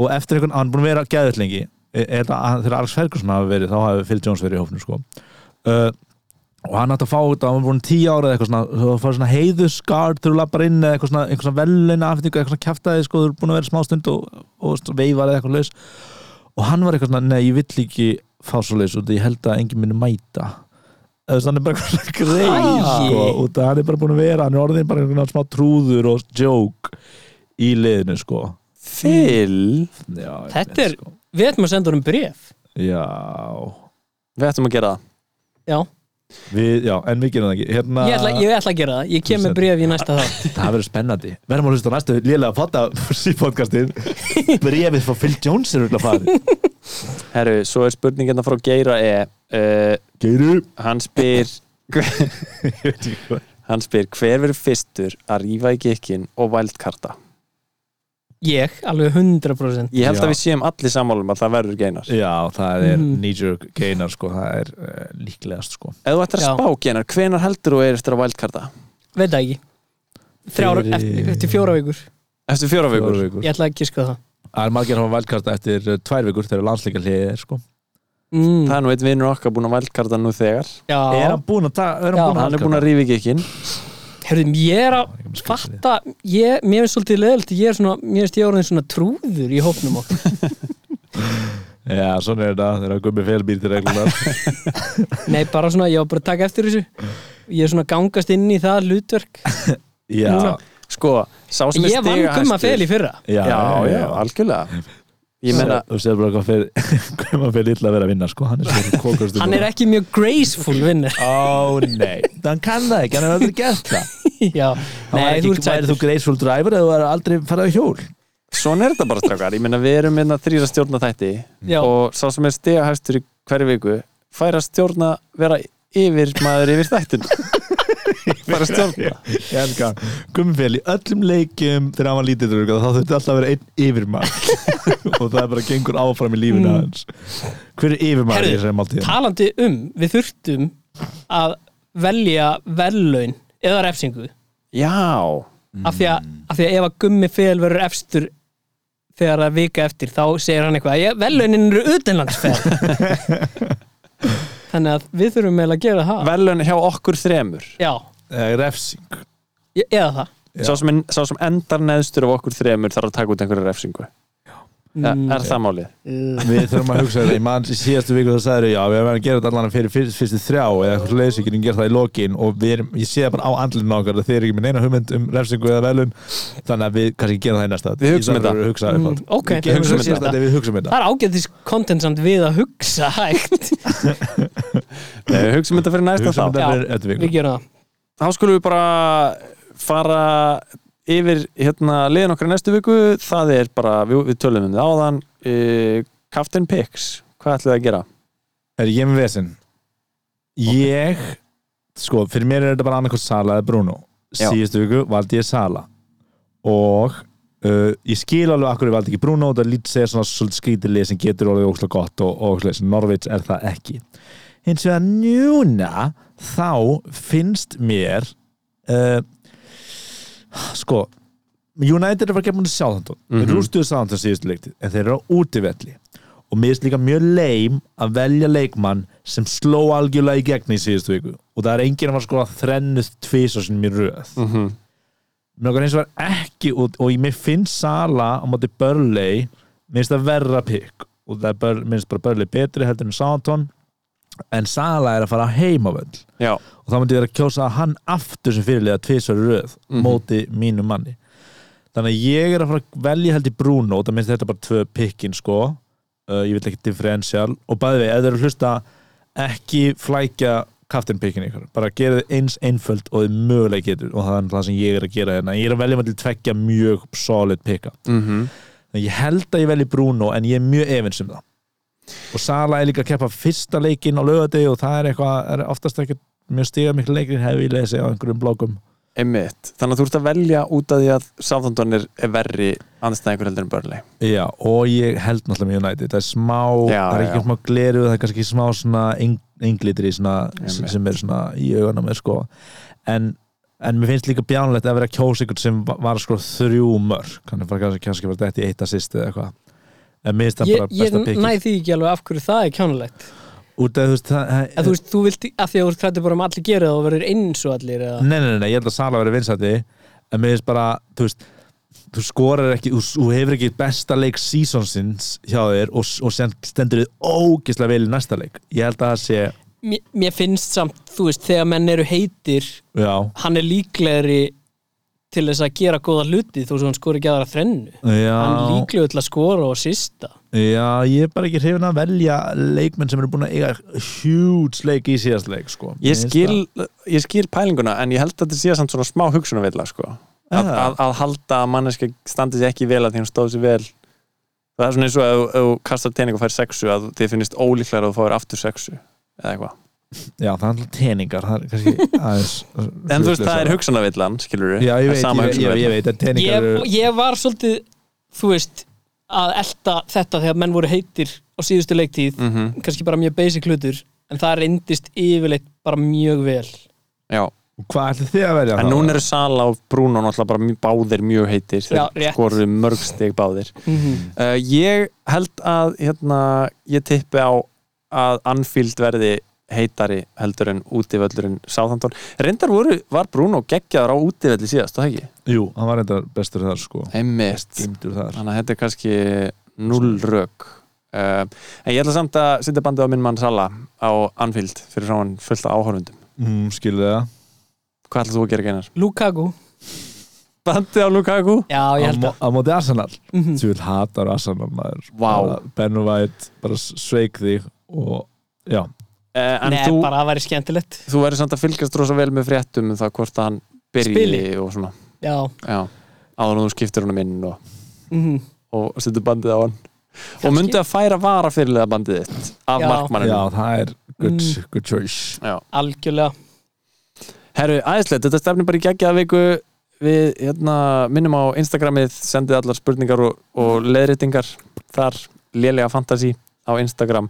og eftir einhvern, hann er búin að vera geðið lengi, E- e- þetta- hann- þegar Alex Ferguson hafi verið, þá hafi Phil Jones verið í hófnum sko uh, og hann átti að fá þetta, hann var búin tíu ára eða eitthvað svona, þú var svona heiðuskard þegar þú lappar inn eða eitthvað svona, eitthvað svona velina afhengu, eitthvað svona kjaftaði sko, þú er búin að vera smástund og, og veifar eða eitthvað laus og hann var eitthvað svona, nei, ég vill ekki fá svo leis út, af ég held að enginn minni mæta eða þannig bara eitthvað svona greið Æi. sko, út að hann er bara búin að vera hann er orðin bara einhvern veginn smá trúður og joke í liðinu sko Phil, já, ég Þetta veit, er- við ætlum að senda honum bref já, við ættum að gera það já, við, já, en við gerum það ekki hérna, ég ætla, ég ætla að gera það ég kem með bref í næsta þátt það verður spennandi verðum að hlusta á næstu lélega fatta sípodcastin brefið frá Phil Jones er örugglega farið Herru, svo er spurningina frá Geira E uh, geiru hann spyr hann spyr hver verður fyrstur að rífa í gikkin og vældkarta ég, alveg 100% ég held Já. að við séum allir sammálum að það verður geinar já, það er Mhm. knee-jerk geinar sko, það er uh, líklegast sko ef þú ættir að Já. spá geinar, hvenar heldur þú er eftir að vældkarta? veit það ekki Þrjár, Fyrir- eftir, eftir fjóra vikur eftir fjóra vikur vikur ég ætla að giska á það Það er margir að hafa valdkasta eftir eh, tvær vikur þegar landsleika hliðið er sko mm, það er nú einn vinnur okkar búin að vældkarta nú þegar Er já, hann búin að taka, er Já. hann hann er búin búin að rífa í gikkin herrðum, ég er að valdkasta? fatta, ég, mér finnst svolítið leðilt ég er svona, mér finnst ég orðin svona trúður í hópnum okkur Já, svona er þetta þegar gummi felbýr til reglunar nei, bara svona, ég var bara að taka eftir þessu ég er svona að gangast inn í það hlutverk Já, Núna. sko, sá sem er ég vann stigahæstur- gumma fel í fyrra já, já, já, algjörlega ég menna, Þú sér bara hvað fyrir gummi fel illa að vera að vinna sko Hann er svona kókast hann er ekki mjög graceful vinnur Ó nei, hann kann það ekki, hann er aldrei gert það já, Nei, nei, ekki, þú þú ert sætur Værið þú graceful driver eða þú er aldrei farið á hjól svona er þetta bara strákar ég menna, við erum einna þrýra stjórna þætti Já. og sá sem er stigahæstur í hverju viku fær að stjórna vera yfir maður yfir þættin fær að stjórna Ég elska Gummifél í öllum leikum þegar hann var lítið dröga, þá þurfti alltaf að vera einn yfirmann og það er bara gengur áfram í lífinu Mm. hans Hver er yfirmann Herðu, í þessari máltíðin? talandi um, við þurftum að velja vellaun eða refsingu já, af, því Mm. að, af því að ef að gummi fel verður efstur þegar það er vika eftir þá segir hann eitthvað, ég, vellaunin eru utanlandsferð þannig að við þurfum eiginlega að gera það velun hjá okkur þremur já, Eða Eh, refsing e- eða það sá sem, er- sá sem endar neðstur af okkur þremur þarf að taka út einhverja refsingu er, Mm. er það málið? Við þurfum að hugsa þetta, ég mann í síðastu viku þá sagður já, við erum að gera þetta allan fyrir fyrst, fyrstu þrjá eða eitthvað leysingin gera það í lokin og við erum, ég sé það bara á andlinu okkar að þeir eru ekki með neina hugmynd um refsingu eða velun þannig að við kannski gerum það í næsta Við hugsum Í staðinn fyrir að hugsa upp á Mm, þetta. ok, Við gerum hugsum það í þetta. síðasta þegar við hugsum þetta það er ágætis content samt við að hugsa hægt Nei, við hugsaum Eh, þetta fyrir næsta Mm. Hugsum þá þetta Já. fyrir eftir við viku gerum það þá skulum við bara fara yfir hérna liðin okkar í næstu viku það er bara, við, við tölum um það áðan uh, Captain Picks hvað ætlum við að gera? Er ég með vesinn? Ég, sko, fyrir mér er þetta bara annarkoð Sala eða Bruno Já. Síðustu viku valdi ég Sala og uh, ég skil alveg akkur ég valdi ekki Bruno og það lítið segja svona svolítið skrítilið sem getur alveg óslega gott og, og óslega Norvits er það ekki hins vegar njúna þá finnst mér uh, sko United er bara ekki búin að sjá þannig mm -hmm. Mhm. rústuðu saman síðustu leiktið en þeir eru á útivelli og mér finnst líka mjög leim að velja leikmann sem sló algjörlega í gegn í síðustu viku og það er enginn að var sko að þrennu tvisar sem mér röð Mm -hmm. mér okkar eins og var ekki út og ég- mér finnst Sala á móti Börlei mér finnst það verra pikk og það er bör, mér finnst bara Börlei betri heldur en Sántón en Sala er að fara heim á völl Já, og þá myndi ég vera að kjósa hann aftur sem fyrirlega tvisar röð Mhm. móti mínu manni þannig að ég er að fara að velja held í Bruno það minnst þetta bara tvö pikkin sko uh, ég vil ekki differential og bæði við, ef þið eru að hlusta ekki flækja kaftin pikkin ykkur bara gera þið eins einföld og þið mögulega getur og það er það sem ég er að gera hérna ég er að velja maður til tveggja mjög solid pikka mm -hmm. Þannig að ég held að ég velji Bruno en ég er mjög efins um það og Sala er líka að keppa fyrsta leikinn á lögadegi og það er eitthvað, er oftast ekkert mjög stiga miklu leikinn hefði ég lesið á einhverjum blogum Einmitt. Þannig að þú ert að velja út af því að Southampton er er verri anstæðingur heldur en Burnley. Já, og ég held náttúrulega með United það er smá, Já, það er ekki já. smá gleru það er kannski smá svona englitri svona, Einmitt. sem er svona í augunum með sko en, en mér finnst líka bjánulegt að vera að kjósa ykkur sem va- var sko þrjú mörg kannski var kannski, kannski var þetta í eitt assist eða eitthvað en mér finnst það ég, bara ég besta pikið næði því ekki alveg af hverju það er kjánulegt út af þú veist það, að þú veist, þú vilt, að því að þú ert hrættu bara um að allir gera það og verður eins og allir eða, nei, nei, nei, nei, ég held að Sala verið vinsæti en mér finnst bara, þú veist þú skorar ekki, þú, þú hefur ekki besta leik seasonsins hjá þér og, og sen stendur þið ógislega vel í næsta leik ég held að það sé, mér, mér finnst samt, þú veist, þegar menn eru heitir já hann er líklegri til þess að gera góða hluti þó svo hann skori ekki aðra þrennu já, hann er líklegri til að skora og sista já, ég er bara ekki hrifin að velja leikmenn sem eru búin að eiga huge leik í síðast leik sko. Mér Ég finnst skil, ég skil pælinguna en ég held að þetta sé samt svona smá hugsunarvilla sko. að, það- að, að halda að manneska standi sér ekki vel að því hún stóð sér vel það er svona eins og að ef- ef þú kastar teining og fær sexu að þið finnist ólíklega að þú fáir aftur sexu eða eitthvað já, það er alltaf teningar það er kannski aðeins en þú veist það er hugsunarvillan skilur við já, ég veit, ég, ég, ég veit, en teningar ég, eru ég var svolítið þú veist að elta þetta þegar menn voru heitir á síðustu leiktíð mm kannski bara mjög basic hlutur en það reyndist yfirleitt bara mjög vel já. hvað ætlið þið að velja en núna eru Sala og Bruno náttúrulega bara mjög- báðir mjög heitir Já, þeir rétt. skoruðu mörg stig báðir uh, ég held að hérna, ég tippi á að Anfield verði heitari heldur en útivöllurinn Southampton reyndar voru, var Bruno geggjaður á útivelli síðast, það ekki? jú, hann var enda bestur þar sko Einmitt, geimdur þar þannig að þetta er kannski null rök uh, en ég ætla samt að setja bandið á minn mann Sala á Anfield fyrir frá hann fullt af áhorfundum mm, skilur það hvað ætlar þú að gera geinar? Lukaku Bandið á Lukaku? já ég á, held mó- að á móti Arsenal Mhm. þú vil hatar Arsenal maður Vá. Bara Ben White bara s- sveik þig og já Uh, en Nei, þú, bara það væri skemmtilegt þú verður samt að fylgjast rosa vel með fréttum um það hvort að hann byrji Spili. og svona já, já, áður en þú skiptir honum inn og, mm og setur bandið á hann og myndi að færa vara fyrirlega bandið þitt af já Já. markmanninu það er good, Mm. good choice Já. algjörlega Herru, æðislegt, þetta stefnir bara í geggjaða viku Við hérna, minnum á Instagramið sendið allar spurningar og, og leðritingar þar, lélega fantasy á Instagram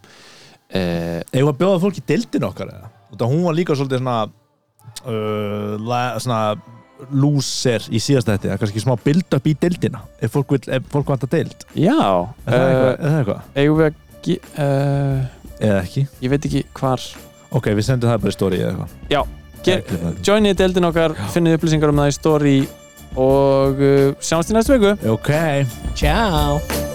eh, Eða að bjóða fólk í deildin okkar eða og það hún var líka svolítið svona uh, la, svona lúser í síðast þetta, kannski smá build up í deildina ef fólk, vill, ef fólk vantar deild Já er það eh, eitthvað, er það eitthvað? eigum við að ge- eh, eða ekki, ég veit ekki hvar ok við sendum það bara í story eða eitthvað Já. Ge- Það er ekki- joinið deildin okkar, finnið upplýsingar um það í story og uh, sjáumst í næstu viku ok ciao